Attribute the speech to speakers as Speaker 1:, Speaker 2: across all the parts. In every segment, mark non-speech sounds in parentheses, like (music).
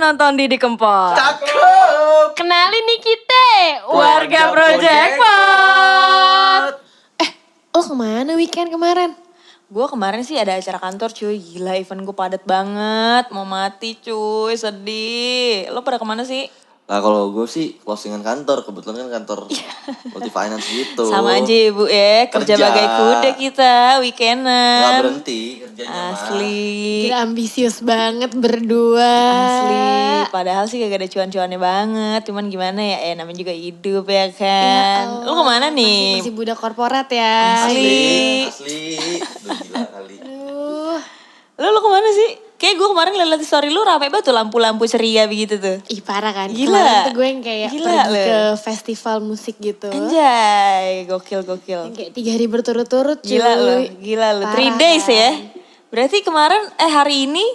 Speaker 1: nonton Didi Kempot.
Speaker 2: Cakep.
Speaker 3: Kenalin nih kita,
Speaker 1: Warga Project Pot.
Speaker 3: Eh, Lo kemana weekend kemarin?
Speaker 1: Gue kemarin sih ada acara kantor cuy, gila event gue padat banget, mau mati cuy, sedih. Lo pada kemana sih?
Speaker 2: Nah kalau gue sih closingan kantor, kebetulan kan kantor multi finance gitu.
Speaker 1: Iya. Sama aja ya bu ya, kerja,
Speaker 2: Kerja.
Speaker 1: bagai kuda kita,
Speaker 2: Nggak
Speaker 1: weekendan.
Speaker 2: berhenti kerjanya mah.
Speaker 1: Asli.
Speaker 3: Gila ambisius banget berdua.
Speaker 1: Asli, padahal sih gak ada cuan-cuannya banget, cuman gimana ya, eh namanya juga hidup ya
Speaker 3: Ya
Speaker 1: kan.
Speaker 3: Allah,
Speaker 1: Lo kemana nih?
Speaker 3: Masih, masih budak korporat ya.
Speaker 1: Asli.
Speaker 2: Asli. Duh, gila kali.
Speaker 3: Aduh.
Speaker 1: Lo lo kemana sih? Kayak gue kemarin liat di story lu rame banget tuh lampu-lampu ceria begitu tuh.
Speaker 3: Ih parah kan.
Speaker 1: Gila.
Speaker 3: Kemarin tuh gue yang kayak
Speaker 1: Gila,
Speaker 3: pergi
Speaker 1: Le.
Speaker 3: ke festival musik gitu.
Speaker 1: Anjay, gokil gokil.
Speaker 3: Yang Kayak tiga hari berturut-turut cuy.
Speaker 1: Gila lu, gila lu. Three
Speaker 3: Parah
Speaker 1: days
Speaker 3: kan.
Speaker 1: ya. Berarti kemarin eh hari ini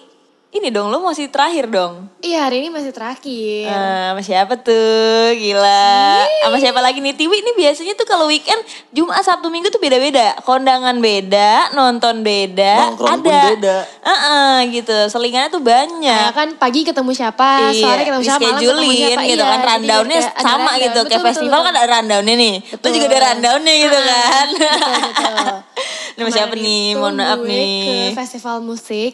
Speaker 1: ini dong lu masih terakhir dong.
Speaker 3: Iya hari ini masih
Speaker 2: Iya.
Speaker 3: terakhir.
Speaker 1: Eh, sama siapa tuh? Gila. Sama siapa lagi nih? Tiwi ini biasanya tuh kalau weekend Jumat Sabtu Minggu tuh beda-beda. Kondangan beda, nonton beda,
Speaker 2: Nongkrong pun
Speaker 1: ada.
Speaker 2: beda.
Speaker 1: Heeh, gitu. Selingannya tuh
Speaker 3: Nah,
Speaker 1: banyak.
Speaker 3: kan pagi ketemu siapa,
Speaker 1: Iya,
Speaker 3: sore ketemu siapa, malam ketemu
Speaker 1: dischedule-in
Speaker 3: siapa.
Speaker 1: gitu
Speaker 3: Iya,
Speaker 1: kan
Speaker 3: jadi
Speaker 1: rundownnya
Speaker 3: kayak ada
Speaker 1: sama
Speaker 3: rundown.
Speaker 1: gitu kayak
Speaker 3: Betul,
Speaker 1: festival
Speaker 3: betul,
Speaker 1: kan ada rundownnya nih lu juga ada
Speaker 3: Betul.
Speaker 1: rundownnya gitu
Speaker 3: Ah,
Speaker 1: kan
Speaker 3: betul,
Speaker 1: (laughs)
Speaker 3: betul.
Speaker 1: Ini sama siapa
Speaker 3: Kemarin
Speaker 1: nih
Speaker 3: itu
Speaker 1: mohon maaf
Speaker 3: gue
Speaker 1: nih
Speaker 3: ke festival musik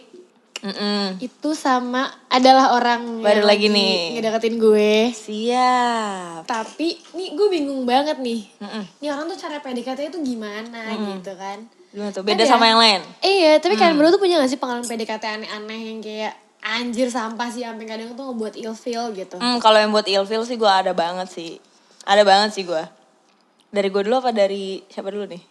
Speaker 1: Mm-mm.
Speaker 3: itu sama adalah orang
Speaker 1: Baru
Speaker 3: yang
Speaker 1: lagi nih.
Speaker 3: ngedeketin gue
Speaker 1: siap
Speaker 3: tapi nih gue bingung banget nih
Speaker 1: Mm-mm.
Speaker 3: nih orang tuh cara PDKT itu gimana gitu kan
Speaker 1: Gimana tuh? Beda
Speaker 3: Ada.
Speaker 1: sama yang lain?
Speaker 3: iya tapi kalian berdua tuh punya gak sih pengalaman PDKT aneh-aneh yang kayak anjir sampah sih sampai kadang tuh ngebuat ilfeel gitu
Speaker 1: Hmm, kalau yang buat ilfil sih gue ada banget sih. Ada banget sih gue. Dari gue dulu apa dari siapa dulu nih?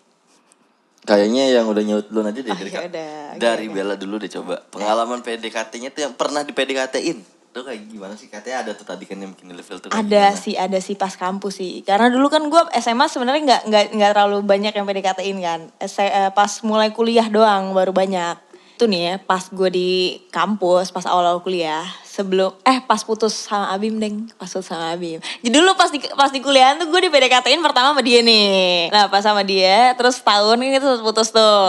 Speaker 2: Kayaknya yang udah nyaut dulu nanti deh dari,
Speaker 1: ya udah,
Speaker 2: dari Bella dulu deh coba. Pengalaman PDKT-nya tuh yang pernah di PDKT-in. Tuh kayak gimana sih? Katanya ada tuh tadi kan Iya. yang bikin level tuh. kayak
Speaker 1: Ada
Speaker 2: gimana.
Speaker 1: sih, ada sih pas kampus sih. Karena dulu kan gue SMA sebenarnya nggak nggak nggak terlalu banyak yang PDKT-in kan. S- eh, Pas mulai kuliah doang baru banyak. Itu nih ya, pas gue di kampus, pas awal-awal kuliah, sebelum eh pas putus sama Abim deng, pas putus sama Abim. Jadi dulu pas di pas di kuliahan tuh gue di PDKT-in pertama sama dia nih. Nah pas sama dia, terus tahun ini tuh putus tuh.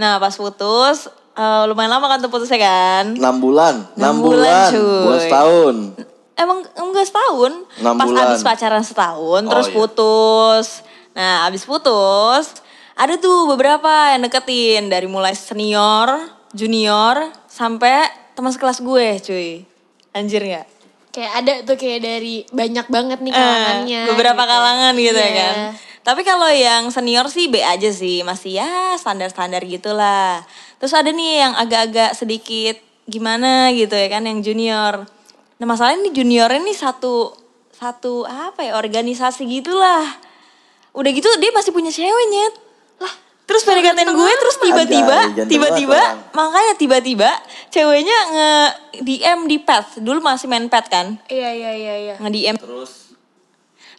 Speaker 1: Nah pas putus, eh, lumayan lama kan tuh putusnya kan.
Speaker 2: 6 bulan, 6,
Speaker 1: Enam bulan,
Speaker 2: bulan,
Speaker 1: cuy.
Speaker 2: bulan setahun.
Speaker 1: Emang enggak setahun?
Speaker 2: Enam
Speaker 1: Pas
Speaker 2: bulan.
Speaker 1: abis pacaran setahun,
Speaker 2: Oh,
Speaker 1: terus
Speaker 2: iya.
Speaker 1: putus. Nah, abis putus, ada tuh beberapa yang deketin. Dari mulai senior, junior, sampai teman sekelas gue cuy. Anjir gak?
Speaker 3: kayak ada tuh kayak dari banyak banget nih kalangannya
Speaker 1: Eh, beberapa
Speaker 3: gitu.
Speaker 1: kalangan gitu ya
Speaker 3: Iya.
Speaker 1: kan. Tapi kalau yang senior sih B aja sih, masih ya standar-standar gitulah. Terus ada nih yang agak-agak sedikit gimana gitu ya kan yang junior. Nah, masalahnya nih junior ini satu satu apa ya organisasi gitulah. Udah gitu dia masih punya cewek, Nyet. Lah, terus PDKT gue terus tiba-tiba
Speaker 2: Anjay, jangan
Speaker 1: tiba-tiba
Speaker 2: telat orang.
Speaker 1: makanya tiba-tiba ceweknya nge DM di pet. Dulu masih main pet kan?
Speaker 3: iya iya iya iya
Speaker 1: Nge DM
Speaker 2: Terus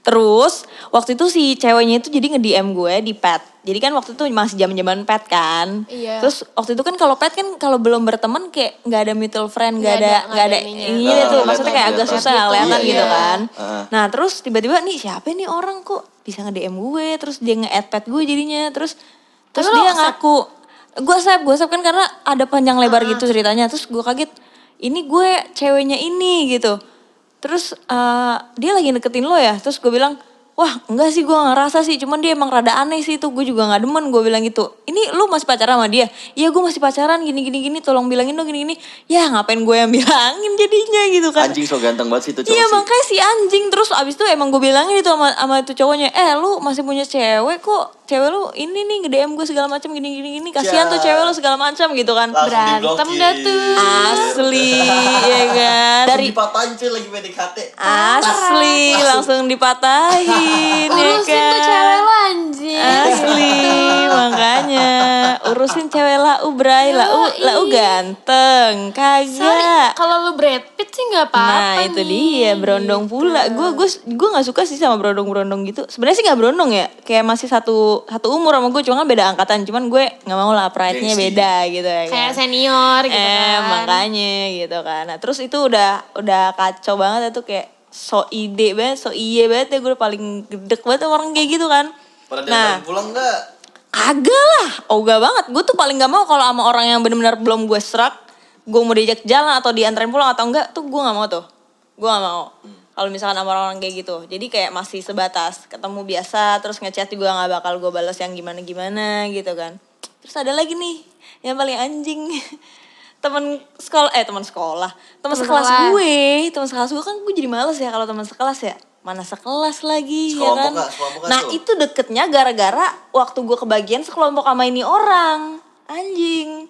Speaker 1: Terus waktu itu si ceweknya itu jadi nge-DM gue di pet. Jadi kan waktu itu masih zaman-zaman pet kan.
Speaker 3: Iya.
Speaker 1: Terus waktu itu kan kalau pet kan kalau belum berteman kayak nggak ada mutual friend, nggak
Speaker 3: Nggak
Speaker 1: ada
Speaker 3: ada-
Speaker 1: nggak ada
Speaker 3: nggak ada
Speaker 1: ini
Speaker 2: ininya.
Speaker 1: tuh
Speaker 2: Nggak
Speaker 1: maksudnya
Speaker 2: kelihatan,
Speaker 1: kayak agak
Speaker 2: nggak
Speaker 1: susah
Speaker 3: kelihatan.
Speaker 1: kelihatan
Speaker 3: Iya,
Speaker 1: gitu
Speaker 3: iya.
Speaker 1: kan.
Speaker 2: Heeh.
Speaker 1: Nah, terus tiba-tiba nih siapa nih orang kok bisa nge-DM gue, terus dia nge-add pet gue jadinya, terus terus
Speaker 3: lo
Speaker 1: dia
Speaker 3: accept?
Speaker 1: ngaku gue save, gue save kan karena ada panjang lebar gitu ceritanya. Terus gue kaget, ini gue ceweknya ini gitu. Terus eh, dia lagi deketin lo ya? Terus gue bilang, wah enggak sih gue ngerasa sih, cuman dia emang rada aneh sih itu. Gue juga gak demen, gue bilang gitu. Ini lu masih pacaran sama dia? Iya gue masih pacaran gini-gini-gini, tolong bilangin dong gini-gini. Ya ngapain gue yang (laughs) bilangin jadinya gitu kan.
Speaker 2: anjing so ganteng banget sih itu cowok
Speaker 1: Iya
Speaker 2: sih.
Speaker 1: makanya si anjing terus abis itu emang gue bilangin itu sama, sama itu cowoknya eh lu masih punya cewek kok cewek lu ini nih nge DM gue segala macam gini gini gini kasihan tuh
Speaker 3: Iya.
Speaker 2: Ya.
Speaker 1: cewek lu segala macam gitu kan
Speaker 2: Langsung
Speaker 3: berantem
Speaker 2: diblokir.
Speaker 3: dah tuh. (laughs)
Speaker 1: asli ya kan dari
Speaker 2: dipatahin cuy lagi PDKT.
Speaker 1: asli langsung
Speaker 3: (laughs)
Speaker 1: dipatahin ya
Speaker 3: urusin tuh cewek
Speaker 1: kan
Speaker 3: lo anjir
Speaker 1: asli makanya urusin cewek lau bray lau lau ganteng
Speaker 3: Sorry,
Speaker 1: kagak
Speaker 3: kalau lu Brad Pitt sih
Speaker 1: Nah
Speaker 3: nggak apa-apa
Speaker 1: itu
Speaker 3: nih. Gitu.
Speaker 1: dia berondong pula. Gue gue gue nggak suka sih sama berondong-berondong gitu. Sebenarnya sih nggak berondong ya. Kayak masih satu satu umur sama gue. Cuma kan beda angkatan. Cuman gue nggak mau lah pride-nya
Speaker 2: Gengsi.
Speaker 1: beda gitu ya. kan.
Speaker 3: Iya Kayak senior gitu
Speaker 1: eh
Speaker 3: kan.
Speaker 1: makanya gitu kan. Nah terus itu udah udah kacau banget itu kayak so ide banget, so iye banget ya gue paling gedek banget sama orang kayak gitu kan.
Speaker 2: Pernah
Speaker 1: nah,
Speaker 2: diantarin pulang enggak?
Speaker 1: Oh, Kagak lah, ogah banget. Gue tuh paling gak mau kalau sama orang yang benar-benar belum gue serak, gue mau diajak jalan atau dianterin pulang atau enggak tuh gue nggak mau tuh gue nggak mau kalau misalkan sama orang-orang kayak gitu jadi kayak masih sebatas ketemu biasa terus ngechat juga nggak bakal gue balas yang gimana gimana gitu kan terus ada lagi nih yang paling anjing (laughs) teman sekolah eh teman sekolah teman
Speaker 3: Teman
Speaker 1: sekelas
Speaker 3: sekelas.
Speaker 1: gue teman sekelas gue kan gue jadi males ya kalau teman sekelas ya mana sekelas lagi ya
Speaker 2: Sekelompok
Speaker 1: kan
Speaker 2: nggak? Sekelompok nggak
Speaker 1: nah
Speaker 2: tuh?
Speaker 1: itu deketnya gara-gara waktu gue kebagian sekelompok sama ini orang anjing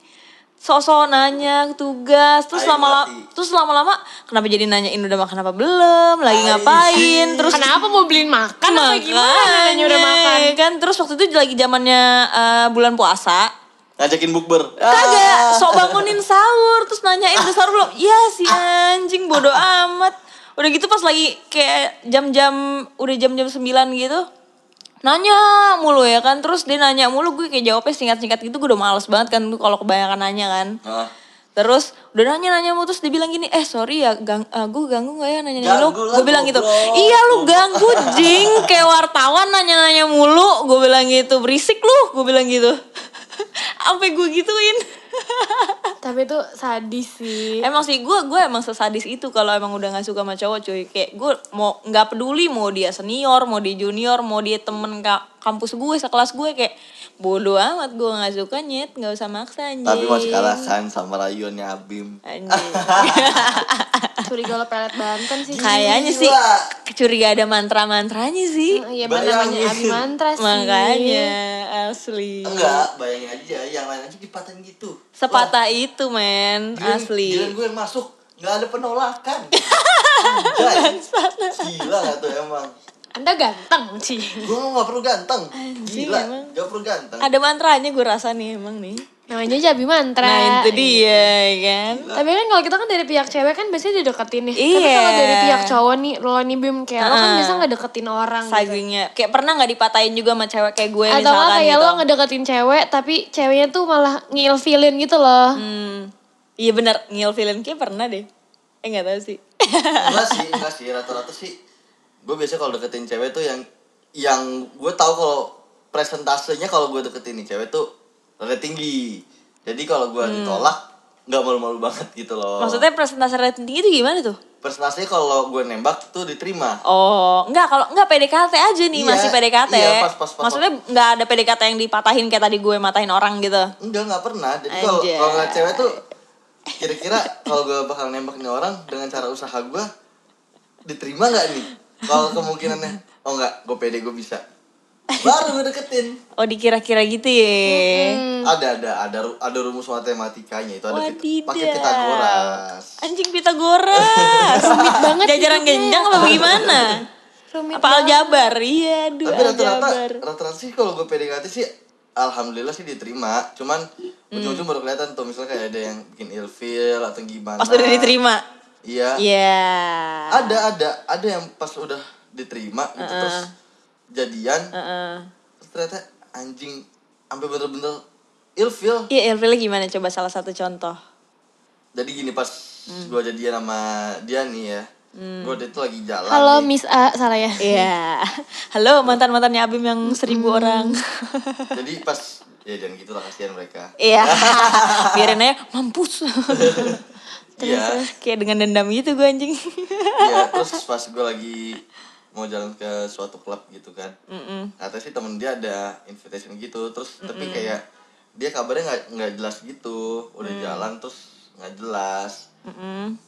Speaker 1: sosok nanya tugas terus
Speaker 2: Ayo,
Speaker 1: lama-lama
Speaker 2: mati.
Speaker 1: terus lama-lama kenapa jadi nanyain udah makan apa belum lagi
Speaker 2: Ay.
Speaker 1: ngapain terus
Speaker 3: Kenapa mau beliin makan apa gimana
Speaker 1: Makanya,
Speaker 3: nanya udah makan?
Speaker 1: kan terus waktu itu lagi zamannya eh, bulan puasa
Speaker 2: Ngajakin bukber.
Speaker 1: kagak sok bangunin sahur terus nanyain udah sahur belum ya si anjing bodoh amat udah gitu pas lagi kayak jam-jam udah jam-jam 9 gitu nanya mulu ya kan terus dia nanya mulu gue kayak jawabnya singkat-singkat gitu gue udah males banget kan gue kalau kebanyakan nanya kan
Speaker 2: Ah.
Speaker 1: Terus udah nanya-nanya mau terus dibilang gini, eh sorry ya, gang, eh, gue ganggu gak ya nanya-nanya lu?
Speaker 2: Ganggu lah,
Speaker 1: Gue bilang gitu,
Speaker 2: goblok.
Speaker 1: iya lu ganggu jing, kayak wartawan nanya-nanya mulu. Gue bilang gitu, berisik lu, gue bilang gitu. (laughs) Sampai gue gituin. (laughs)
Speaker 3: Tapi itu sadis sih.
Speaker 1: emang sih gue gue emang sesadis itu kalau emang udah nggak suka sama cowok cuy kayak gue mau nggak peduli mau dia senior mau dia junior mau dia temen ka- kampus gue sekelas gue kayak bodoh amat gue nggak suka nyet nggak usah maksa anjing
Speaker 2: Tapi masih kalah kan sama rayonnya Abim.
Speaker 1: anjing (laughs)
Speaker 3: Curiga lo pelet Banten sih.
Speaker 1: Kayaknya sih curiga ada mantra-mantranya sih.
Speaker 3: Eh, Iya bener
Speaker 2: Bayangin.
Speaker 3: namanya Abi Mantra Iya sih.
Speaker 1: Makanya asli.
Speaker 2: Enggak, bayangin aja yang lain aja dipatahin gitu.
Speaker 1: Sepatah itu men,
Speaker 2: Giliran- giliran
Speaker 1: asli.
Speaker 2: gue yang masuk, nggak ada
Speaker 1: (laughs)
Speaker 2: penolakan. Anjay. Gila gak tuh emang.
Speaker 3: Anda ganteng sih.
Speaker 2: Gue nggak perlu ganteng. Gila,
Speaker 1: emang.
Speaker 2: nggak perlu ganteng.
Speaker 1: Ada mantranya gue rasa nih emang nih.
Speaker 3: Namanya aja Abi Mantra.
Speaker 1: Nah itu dia ya kan.
Speaker 3: Tapi kan kalau kita kan dari pihak cewek kan biasanya dideketin nih. Tapi
Speaker 1: Iya.
Speaker 3: kalau dari pihak cowok nih, lo nih Bim kayak lo kan
Speaker 1: Ah.
Speaker 3: biasa nggak deketin orang. gitu.
Speaker 1: Sagingnya. Kayak pernah gak dipatahin juga sama cewek kayak gue
Speaker 3: Atau
Speaker 1: misalkan
Speaker 3: nggak kayak
Speaker 1: gitu.
Speaker 3: lo ngedeketin cewek tapi ceweknya tuh malah ngilfilin gitu loh.
Speaker 1: Hmm. Iya bener, ngilfilin kayak pernah deh. Eh gak tau
Speaker 2: (laughs)
Speaker 1: sih.
Speaker 2: enggak sih enggak sih rata-rata sih gue biasanya kalau deketin cewek tuh yang yang gue tahu kalau presentasenya kalau gue deketin nih cewek tuh rada tinggi jadi kalau gue ditolak nggak malu-malu banget gitu loh
Speaker 1: Hmm. Maksudnya presentasi rating tinggi itu gimana tuh?
Speaker 2: presentasenya kalau gue nembak tuh diterima
Speaker 1: Oh, enggak kalau enggak PDKT aja nih,
Speaker 2: Iya,
Speaker 1: masih PDKT.
Speaker 2: iya, pas, pas, pas,
Speaker 1: Maksudnya enggak ada PDKT yang dipatahin kayak tadi gue matahin orang gitu.
Speaker 2: enggak nggak pernah jadi kalau
Speaker 1: Anjay.
Speaker 2: kalau ngeliat cewek tuh kira-kira kalau gue bakal nembak nih orang dengan cara usaha gue diterima nggak nih kalau kemungkinannya oh nggak gue pede gue bisa baru gue deketin
Speaker 1: Oh, dikira-kira gitu ya.
Speaker 2: ada ada ada ru- ada rumus matematikanya itu ada pit-
Speaker 1: Wadidaw.
Speaker 2: pakai Pitagoras
Speaker 1: Anjing Pitagoras. (laughs) Rumit banget. Jajaran genjang apa gimana?
Speaker 3: Rumit
Speaker 1: apa aljabar? Iya, aduh
Speaker 2: tapi rata-rata
Speaker 1: aljabar.
Speaker 2: rata-rata sih kalau gue PDKT sih alhamdulillah sih diterima cuman
Speaker 1: Hmm.
Speaker 2: ujung-ujung baru kelihatan tuh misalnya kayak ada yang bikin ilfil atau gimana
Speaker 1: Pas udah diterima.
Speaker 2: iya
Speaker 1: Iya.
Speaker 2: ada ada ada yang pas udah diterima gitu terus jadian
Speaker 1: Heeh.
Speaker 2: terus ternyata anjing sampai bener-bener ilfil
Speaker 1: Iya, Elvila gimana coba salah satu contoh?
Speaker 2: jadi gini pas
Speaker 1: Hmm.
Speaker 2: gue jadian sama dia nih ya gue itu lagi jalan
Speaker 3: Halo
Speaker 2: nih.
Speaker 3: Miss A, salah ya.
Speaker 1: Iya. (laughs) Halo mantan-mantannya Abim yang seribu (laughs) orang.
Speaker 2: jadi pas ya jangan gitu lah kasihan mereka (laughs)
Speaker 3: Eh,
Speaker 1: Iya. Biarin aja mampus.
Speaker 2: iya
Speaker 1: Kayak dengan dendam gitu gue
Speaker 2: (laughs)
Speaker 1: anjing.
Speaker 2: iya terus pas gue lagi mau jalan ke suatu klub gitu kan katanya sih temen dia ada invitation gitu terus tapi kayak dia kabarnya nggak nggak jelas gitu udah
Speaker 3: Mm.
Speaker 2: jalan terus nggak jelas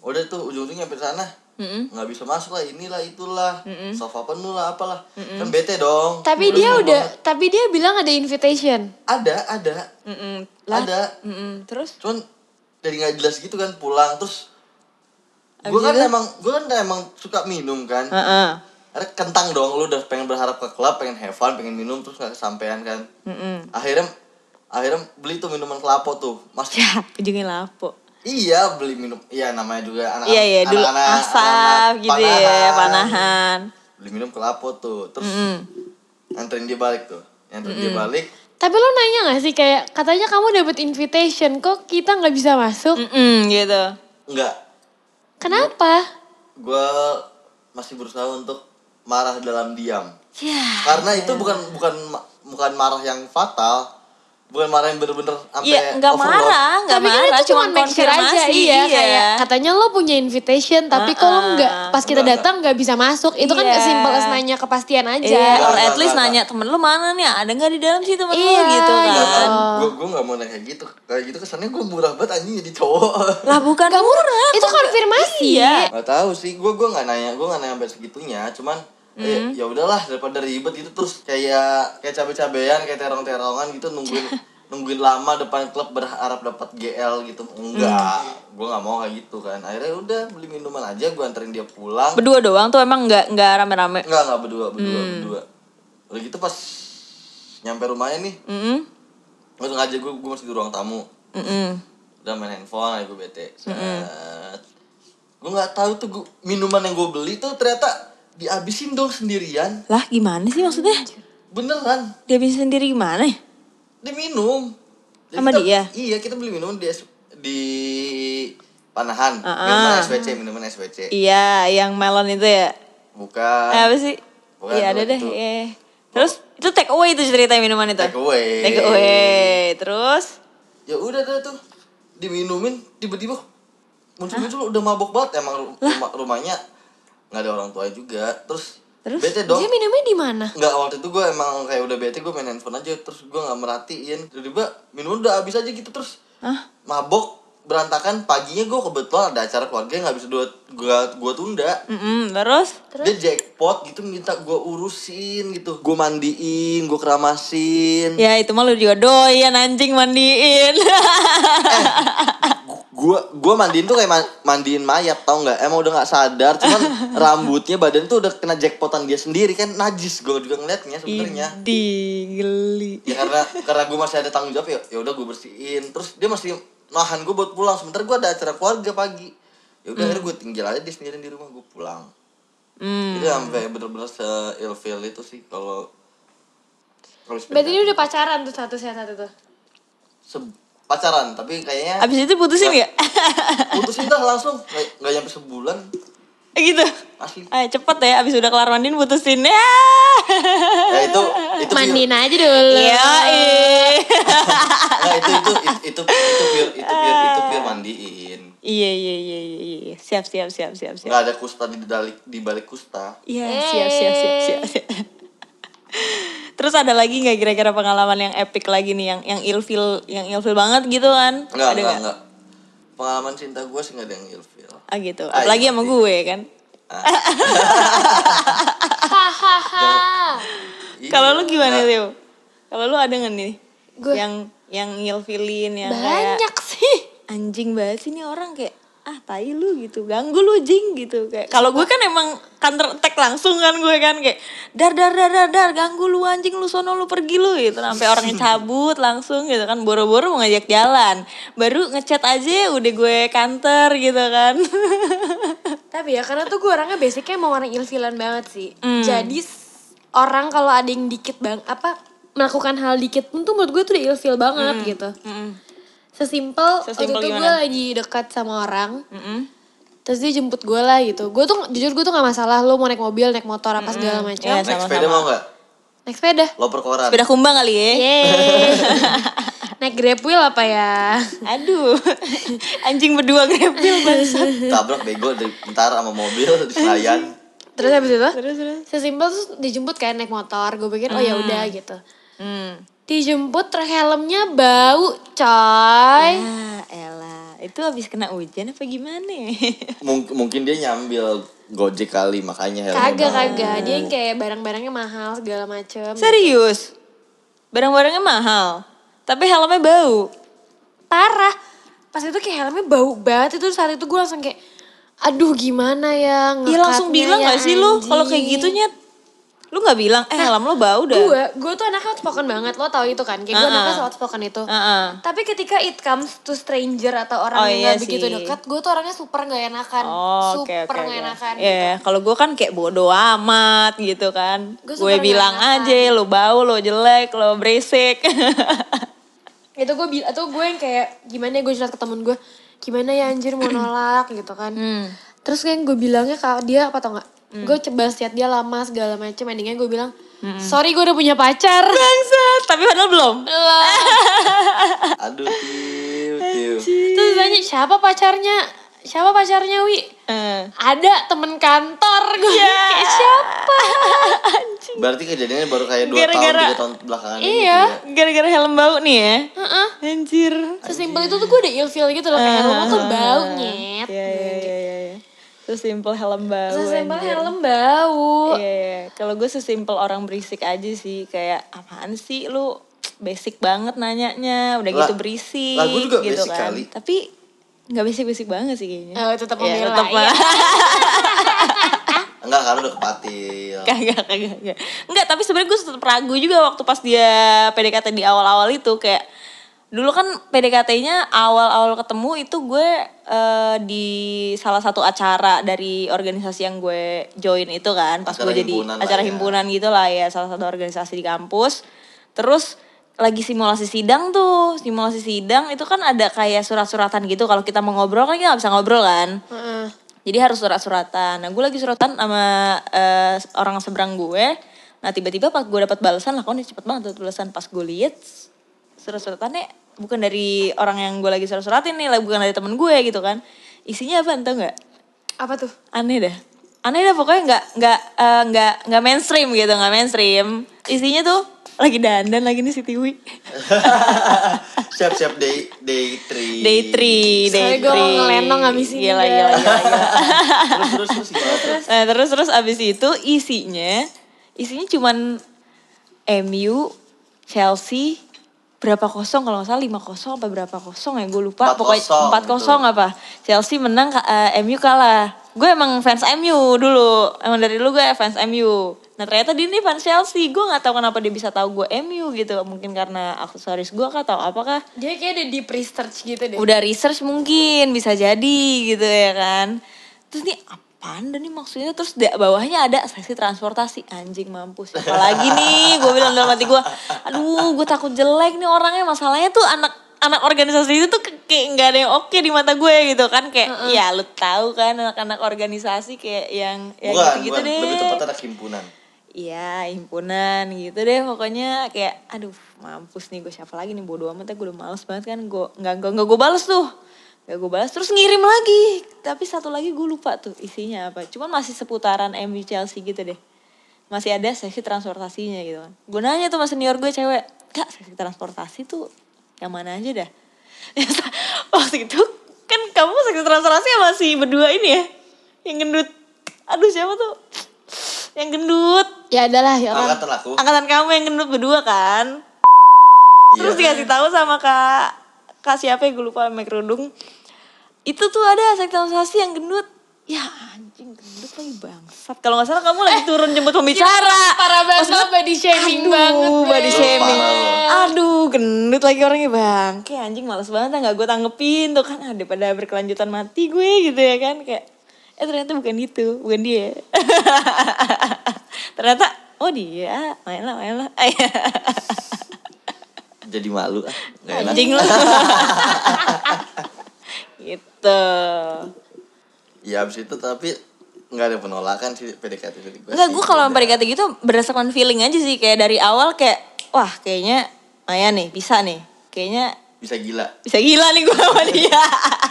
Speaker 2: udah tuh ujung-ujungnya sampai sana nggak bisa masuk lah inilah itulah sofa penuh lah apalah kan bete dong
Speaker 3: Tapi
Speaker 2: Terus
Speaker 3: dia
Speaker 2: gua
Speaker 3: udah,
Speaker 2: bilang,
Speaker 3: tapi dia bilang ada invitation.
Speaker 2: ada ada
Speaker 1: Mm-mm.
Speaker 2: ada
Speaker 1: Mm-mm. Terus?
Speaker 2: cuman dari nggak jelas gitu kan pulang terus gue kan emang gue kan emang suka minum kan
Speaker 1: Heeh.
Speaker 2: Akhirnya kentang dong lu udah pengen berharap ke klub pengen have fun pengen minum terus nggak kesampaian kan akhirnya akhirnya beli tuh minuman kelapa tuh mas
Speaker 1: Ya, ujungnya lapo.
Speaker 2: iya beli minum iya namanya juga anak
Speaker 1: Iya iya dulu
Speaker 2: anak-anak-
Speaker 1: asap
Speaker 2: anak-anak
Speaker 1: gitu ya, panahan.
Speaker 2: beli minum kelapa tuh terus anterin dia balik tuh anterin dia balik
Speaker 3: Tapi lo nanya gak sih kayak katanya kamu dapet invitation kok kita nggak bisa masuk?
Speaker 1: Mm-mm, gitu.
Speaker 2: enggak
Speaker 3: Kenapa?
Speaker 2: gue masih berusaha untuk marah dalam diam
Speaker 1: Ya.
Speaker 2: karena itu bukan bukan ma- bukan marah yang fatal bukan marah yang bener-bener sampai
Speaker 1: Iya, nggak
Speaker 2: overload.
Speaker 1: marah, nggak
Speaker 3: Tapi kan
Speaker 1: marah,
Speaker 3: itu
Speaker 1: cuma
Speaker 3: cuma make sure
Speaker 1: konfirmasi.
Speaker 3: aja, iya, kayak katanya lo punya invitation, tapi kok lo
Speaker 1: Ah,
Speaker 3: nggak pas kita
Speaker 2: enggak,
Speaker 3: datang nggak bisa masuk, itu kan
Speaker 1: Iya.
Speaker 3: simple as nanya kepastian aja.
Speaker 1: Iya, or
Speaker 2: Enggak,
Speaker 1: at least
Speaker 2: enggak,
Speaker 1: nanya temen lu mana nih, ada nggak di dalam sih temen
Speaker 3: Iya,
Speaker 1: lu gitu
Speaker 3: gitu.
Speaker 2: Nggak,
Speaker 1: kan.
Speaker 2: nggak. Gue gue nggak mau nanya kayak gitu. Kayak gitu kesannya gue murah banget anjing jadi cowok.
Speaker 1: Lah bukan
Speaker 3: Nggak
Speaker 1: murah.
Speaker 3: Itu konfirmasi.
Speaker 1: Iya.
Speaker 2: Gak tahu sih, gue gue nggak nanya, gue nggak nanya sampai segitunya. Cuman eh, ya udahlah daripada ribet itu terus kayak kayak cabe-cabean, kayak terong-terongan gitu nungguin nungguin lama depan klub berharap dapat GL gitu. Enggak, gue nggak mau kayak gitu kan. Akhirnya udah beli minuman aja, gue anterin dia pulang.
Speaker 1: Berdua doang tuh emang nggak nggak rame-rame.
Speaker 2: Enggak enggak berdua berdua berdua. Udah gitu pas nyampe rumahnya nih,
Speaker 1: Mm-mm.
Speaker 2: gue sengaja gue gue masih di ruang tamu.
Speaker 1: Mm-mm.
Speaker 2: udah main handphone aja gue bete Set. gue nggak tahu tuh gu- minuman yang gue beli tuh ternyata dihabisin dong sendirian
Speaker 1: Lah gimana sih maksudnya?
Speaker 2: beneran
Speaker 1: Dia bisa sendiri gimana? ya?
Speaker 2: dia minum Jadi
Speaker 1: Sama
Speaker 2: kita-
Speaker 1: dia?
Speaker 2: iya kita beli minuman di S- di panahan
Speaker 1: Ah,
Speaker 2: minuman
Speaker 1: ah.
Speaker 2: SWC minuman SWC
Speaker 1: Iya, yang melon itu ya.
Speaker 2: bukan
Speaker 1: Eh, apa sih?
Speaker 2: Bukan,
Speaker 1: Iya ada
Speaker 2: bukan
Speaker 1: deh.
Speaker 2: itu.
Speaker 1: iya. Terus itu take away itu ceritanya minuman itu.
Speaker 2: take away
Speaker 1: Take away. Terus
Speaker 2: ya udah dah tuh diminumin tiba-tiba muncul muncul udah mabok banget emang ru- rumah- rumahnya nggak ada orang tua juga terus,
Speaker 1: Terus
Speaker 2: bete dong
Speaker 3: Dia minumnya di mana?
Speaker 2: Enggak, waktu itu gue emang kayak udah bete gue main handphone aja terus gue nggak merhatiin tiba-tiba minuman udah habis aja gitu terus mabok berantakan paginya gue kebetulan ada acara keluarga yang nggak bisa gue gue tunda
Speaker 1: Mm-mm, terus
Speaker 3: Terus?
Speaker 2: dia jackpot gitu minta gue urusin gitu gue mandiin gue
Speaker 3: Hmm.
Speaker 2: keramasin
Speaker 1: ya itu mah lu juga doyan anjing mandiin.
Speaker 2: gue gue mandiin tuh kayak ma- mandiin mayat tau nggak emang udah nggak sadar cuman rambutnya badan tuh udah kena jackpotan dia sendiri kan najis gue juga ngeliatnya
Speaker 1: (laughs)
Speaker 2: sebenarnya
Speaker 1: Idi geli.
Speaker 2: ya karena karena gue masih ada tanggung jawab ya ya udah gue bersihin terus dia masih nahan gue buat pulang sebentar gue ada acara keluarga pagi ya udah akhirnya gue tinggal aja dia sendirian di rumah gue pulang
Speaker 1: Hmm.
Speaker 2: itu sampai bener-bener se ilfeel itu sih kalau kalau sepeda.
Speaker 3: Berarti dia udah pacaran tuh satu sehat satu tuh.
Speaker 2: Se- pacaran tapi kayaknya
Speaker 1: Abis itu putusin ya?
Speaker 2: putus kita langsung nggak nggak nyampe sebulan
Speaker 1: (laughs) gitu.
Speaker 2: asli
Speaker 1: Eh, cepet ya, abis udah kelar mandiin putusin ya.
Speaker 2: ya itu itu pure-
Speaker 3: Mandiin aja dulu.
Speaker 1: Iya, eh.
Speaker 2: Nggak, itu itu itu itu itu pure itu pure itu pure mandiin
Speaker 1: (laughs) iya iya iya iya iya. Siap siap siap siap siap.
Speaker 2: nggak ada kusta di balik di balik kusta
Speaker 1: Iya siap siap
Speaker 3: Eh.
Speaker 1: siap siap. siap. (laughs) Terus ada lagi nggak kira-kira pengalaman yang epic lagi nih yang yang ilfil yang ilfil banget gitu kan?
Speaker 2: Enggak,
Speaker 1: ada
Speaker 2: enggak,
Speaker 1: nggak?
Speaker 2: enggak. Pengalaman cinta gue sih enggak ada yang ilfil.
Speaker 1: Ah gitu.
Speaker 2: Ah, iya,
Speaker 1: Apalagi sama
Speaker 2: pasti.
Speaker 1: gue kan.
Speaker 3: Hahaha.
Speaker 2: Iya,
Speaker 1: Kalau lu gimana,
Speaker 2: enggak.
Speaker 1: Leo? Kalau lu ada nggak nih?
Speaker 3: Gue-
Speaker 1: Yang yang ilfilin yang kayak
Speaker 3: Banyak sih.
Speaker 1: anjing banget sih nih orang kayak ah tai lu gitu ganggu lu jing gitu kayak kalau gue kan emang counter attack langsung kan gue kan kayak dar dar dar dar dar ganggu lu anjing lu sono lu pergi lu gitu sampai orangnya cabut langsung gitu kan boro-boro mau ngajak jalan baru ngechat aja udah gue counter gitu kan (laughs)
Speaker 3: Tapi ya karena tuh gue orangnya basicnya mau orang ilfilan banget sih.
Speaker 1: Hmm.
Speaker 3: Jadi s- orang kalau ada yang dikit bang apa melakukan hal dikit pun tuh menurut gue tuh udah ilfil banget gitu.
Speaker 1: Hmm. Sesimpel
Speaker 3: Sesimpel, waktu itu gue
Speaker 1: gimana?
Speaker 3: lagi dekat sama orang.
Speaker 1: Mm-mm.
Speaker 3: Terus dia jemput gue lah gitu. Gue tuh jujur gue tuh gak masalah lo mau naik mobil, naik motor apa segala macam.
Speaker 1: Iya.
Speaker 2: Naik
Speaker 1: Sama-sama.
Speaker 2: sepeda mau enggak?
Speaker 3: Naik sepeda.
Speaker 2: Loper koran.
Speaker 1: sepeda (laughs) kumbang kali ya (laughs)
Speaker 3: Yeay. naik grab wheel apa ya?
Speaker 1: aduh (laughs) anjing berdua grepil bangsat
Speaker 2: Tabrak bego dari ntar sama mobil di Senayan.
Speaker 3: Terus habis itu?
Speaker 1: terus terus
Speaker 3: Sesimpel terus dijemput kayak naik motor. Gue pikir oh ya udah gitu.
Speaker 1: hmm.
Speaker 3: Dijemput ter helmnya bau, coy.
Speaker 1: ah elah itu habis kena hujan apa gimana ya?
Speaker 2: Mung- mungkin dia nyambil Gojek kali
Speaker 1: iya,
Speaker 2: makanya helmnya
Speaker 3: Kagak
Speaker 2: bau.
Speaker 3: kagak, dia yang kayak barang-barangnya mahal segala macem.
Speaker 1: (laughs) Serius? Barang-barangnya mahal, tapi helmnya bau.
Speaker 3: Parah. Pas itu kayak helmnya bau banget itu saat itu gue langsung kayak aduh gimana ya
Speaker 1: Iya langsung bilang gak sih lu kalau kayak gitu Nyet? Lu gak bilang, eh helm lu bau dah.
Speaker 3: Gue, gue tuh anaknya outspoken banget, lo tau itu kan, kayak gue
Speaker 1: Ah-ah.
Speaker 3: anaknya so outspoken itu
Speaker 1: Ah-ah.
Speaker 3: Tapi ketika it comes to stranger atau orang
Speaker 1: Oh,
Speaker 3: yang
Speaker 1: iya
Speaker 3: gak begitu
Speaker 1: sih.
Speaker 3: dekat, gue tuh orangnya super gak enakan
Speaker 1: Oh, oke
Speaker 3: Kan Super
Speaker 1: oke.
Speaker 3: gak enakan
Speaker 1: oke. Iya, kalau gue kan kayak bodo amat gitu kan.
Speaker 3: Gua
Speaker 1: Gue
Speaker 3: super
Speaker 1: bilang
Speaker 3: nggak enakan.
Speaker 1: aja lu bau, lu jelek, lu berisik. (laughs)
Speaker 3: itu gue bil atau gue yang kayak gimana ya gue curhat ke temen gue gimana ya anjir
Speaker 1: (clears throat)
Speaker 3: mau nolak gitu kan
Speaker 1: Hmm.
Speaker 3: terus kan gue bilangnya kalau dia apa tau nggak gue coba setiap dia lama segala macem endingnya gue bilang
Speaker 1: Hmm.
Speaker 3: Sorry gue udah punya pacar.
Speaker 1: Bangsat, tapi padahal belum.
Speaker 2: Aduh, tiu, tiu.
Speaker 3: Terus tanya siapa pacarnya? Siapa pacarnya Wi?
Speaker 1: Eh.
Speaker 3: Ada temen kantor gue.
Speaker 1: Iya.
Speaker 3: Kayak siapa?
Speaker 2: Berarti kejadiannya baru kayak 2 tahun,
Speaker 1: Gara-gara-
Speaker 2: 3 tahun belakangan ini
Speaker 3: Iya.
Speaker 2: gitu ya.
Speaker 1: Gara-gara helm bau nih ya.
Speaker 3: Heeh.
Speaker 1: Anjir. Ah,
Speaker 3: Sesimpel itu tuh gue udah ilfeel gitu loh kayak rumah tuh bau nyet.
Speaker 1: Iya, iya, iya, iya, iya. Sesimpel helm bau.
Speaker 3: Sesimpel
Speaker 1: anjir.
Speaker 3: helm bau.
Speaker 1: Iya, iya. Kalau gue sesimpel orang berisik aja sih. Kayak apaan sih lu basic banget nanyanya. Udah
Speaker 2: Lah,
Speaker 1: gitu berisik.
Speaker 2: lah, gue juga
Speaker 1: gitu
Speaker 2: basic
Speaker 1: kan.
Speaker 2: kali.
Speaker 1: Tapi nggak basic-basic banget sih kayaknya.
Speaker 3: Oh, tetap
Speaker 1: Iya,
Speaker 3: membela.
Speaker 1: tetap
Speaker 3: iya.
Speaker 2: Enggak, ya? karena udah kepatil.
Speaker 1: (laughs) kagak kagak kagak enggak tapi sebenarnya gue tetap ragu juga waktu pas dia PDKT di awal-awal itu kayak dulu kan PDKT-nya awal-awal ketemu itu gue eh, di salah satu acara dari organisasi yang gue join itu kan pas
Speaker 2: Acara
Speaker 1: gue jadi
Speaker 2: himpunan lah
Speaker 1: acara
Speaker 2: ya.
Speaker 1: himpunan gitu lah ya salah satu organisasi di kampus terus lagi simulasi sidang tuh simulasi sidang itu kan ada kayak surat-suratan gitu kalau kita mau ngobrol kan kita nggak bisa ngobrol kan
Speaker 3: Heeh.
Speaker 1: jadi harus surat-suratan. Nah gue lagi suratan sama eh, orang seberang gue. Nah tiba-tiba pas gue dapat balasan lah, kok cepet banget tuh tulisan. Pas gue liat surat-suratannya bukan dari orang yang gue lagi surat-suratin nih, lah, bukan dari temen gue gitu kan. Isinya apa tau nggak?
Speaker 3: Apa tuh?
Speaker 1: Aneh dah. Aneh dah pokoknya nggak nggak eh, nggak nggak mainstream gitu, nggak mainstream. Isinya tuh lagi dandan lagi nih si Tiwi.
Speaker 2: Siap-siap day day 3.
Speaker 1: Day 3, day
Speaker 3: Sorry, gue mau
Speaker 1: 3.
Speaker 3: ngelenong abis ini
Speaker 1: Gila,
Speaker 3: dah.
Speaker 1: gila, gila, gila.
Speaker 2: Terus terus terus gimana tuh?
Speaker 1: Nah terus terus abis itu isinya isinya cuman MU, Chelsea berapa kosong kalau nggak salah lima kosong apa berapa kosong ya gue lupa
Speaker 2: 4-0
Speaker 1: pokoknya empat kosong
Speaker 2: gitu.
Speaker 1: apa Chelsea menang ka- eh, MU kalah gue emang fans MU dulu emang dari dulu gue fans MU nah ternyata dia nih fans Chelsea gue nggak tahu kenapa dia bisa tahu gue MU gitu mungkin karena aksesoris gue kah atau apakah
Speaker 3: Dia kayak ada deep research gitu deh.
Speaker 1: udah research mungkin bisa jadi gitu ya kan terus nih apaan dan nih maksudnya terus di bawahnya ada seksi transportasi anjing mampus siapa lagi nih gue bilang dalam hati gue aduh gue takut jelek nih orangnya masalahnya tuh anak anak organisasi itu tuh ke- kayak nggak ada yang oke di mata gue gitu kan kayak ya lu tahu kan anak-anak organisasi kayak yang (laughs) ya
Speaker 2: bukan,
Speaker 1: gitu-gitu
Speaker 2: bukan.
Speaker 1: deh
Speaker 2: Lebih tepatnya anak himpunan.
Speaker 1: Iya, himpunan gitu deh pokoknya kayak aduh mampus nih gue siapa lagi nih bodo amat ya gue udah males banget kan gue nggak nggak nggak gue balas tuh nggak gue balas terus ngirim lagi tapi satu lagi gue lupa tuh isinya apa cuman masih seputaran MU Chelsea gitu deh masih ada sesi transportasinya gitu kan gue nanya tuh sama senior gue cewek kak sesi transportasi tuh yang mana aja dah (laughs) waktu itu kan kamu sesi transportasi sama si berdua ini ya yang gendut aduh siapa tuh yang gendut
Speaker 3: Ya adalah ya orang.
Speaker 2: Angkatan aku.
Speaker 1: angkatan kamu yang gendut berdua kan terus
Speaker 2: Oh. Iya.
Speaker 1: dikasih tahu sama kak kak siapa ya, gue lupa sama kerudung itu tuh ada seksualisasi yang gendut ya anjing gendut lagi bangsat kalau nggak salah kamu lagi turun jemput pembicara
Speaker 3: Parah banget
Speaker 1: Maksudnya,
Speaker 3: body shaming
Speaker 1: aduh,
Speaker 3: banget. gue.
Speaker 1: body shaming
Speaker 2: Parah.
Speaker 1: aduh gendut lagi orangnya bang kayak anjing males banget nggak gue tanggepin tuh kan ah, daripada berkelanjutan mati gue gitu ya kan kayak eh ternyata bukan itu bukan dia (laughs) ternyata oh dia main lah main lah (laughs)
Speaker 2: Jadi malu ah. Nggak enak.
Speaker 1: anjing lah (laughs) gitu
Speaker 2: Ya abis itu tapi nggak ada penolakan sih PDKT dari gue.
Speaker 1: Enggak,
Speaker 2: sih.
Speaker 1: gue kalau
Speaker 2: Udah.
Speaker 1: PDKT gitu berdasarkan feeling aja sih. Kayak dari awal kayak, wah kayaknya Maya nih, bisa nih. Kayaknya
Speaker 2: bisa gila.
Speaker 1: bisa gila nih gue sama dia.
Speaker 3: Kalau gue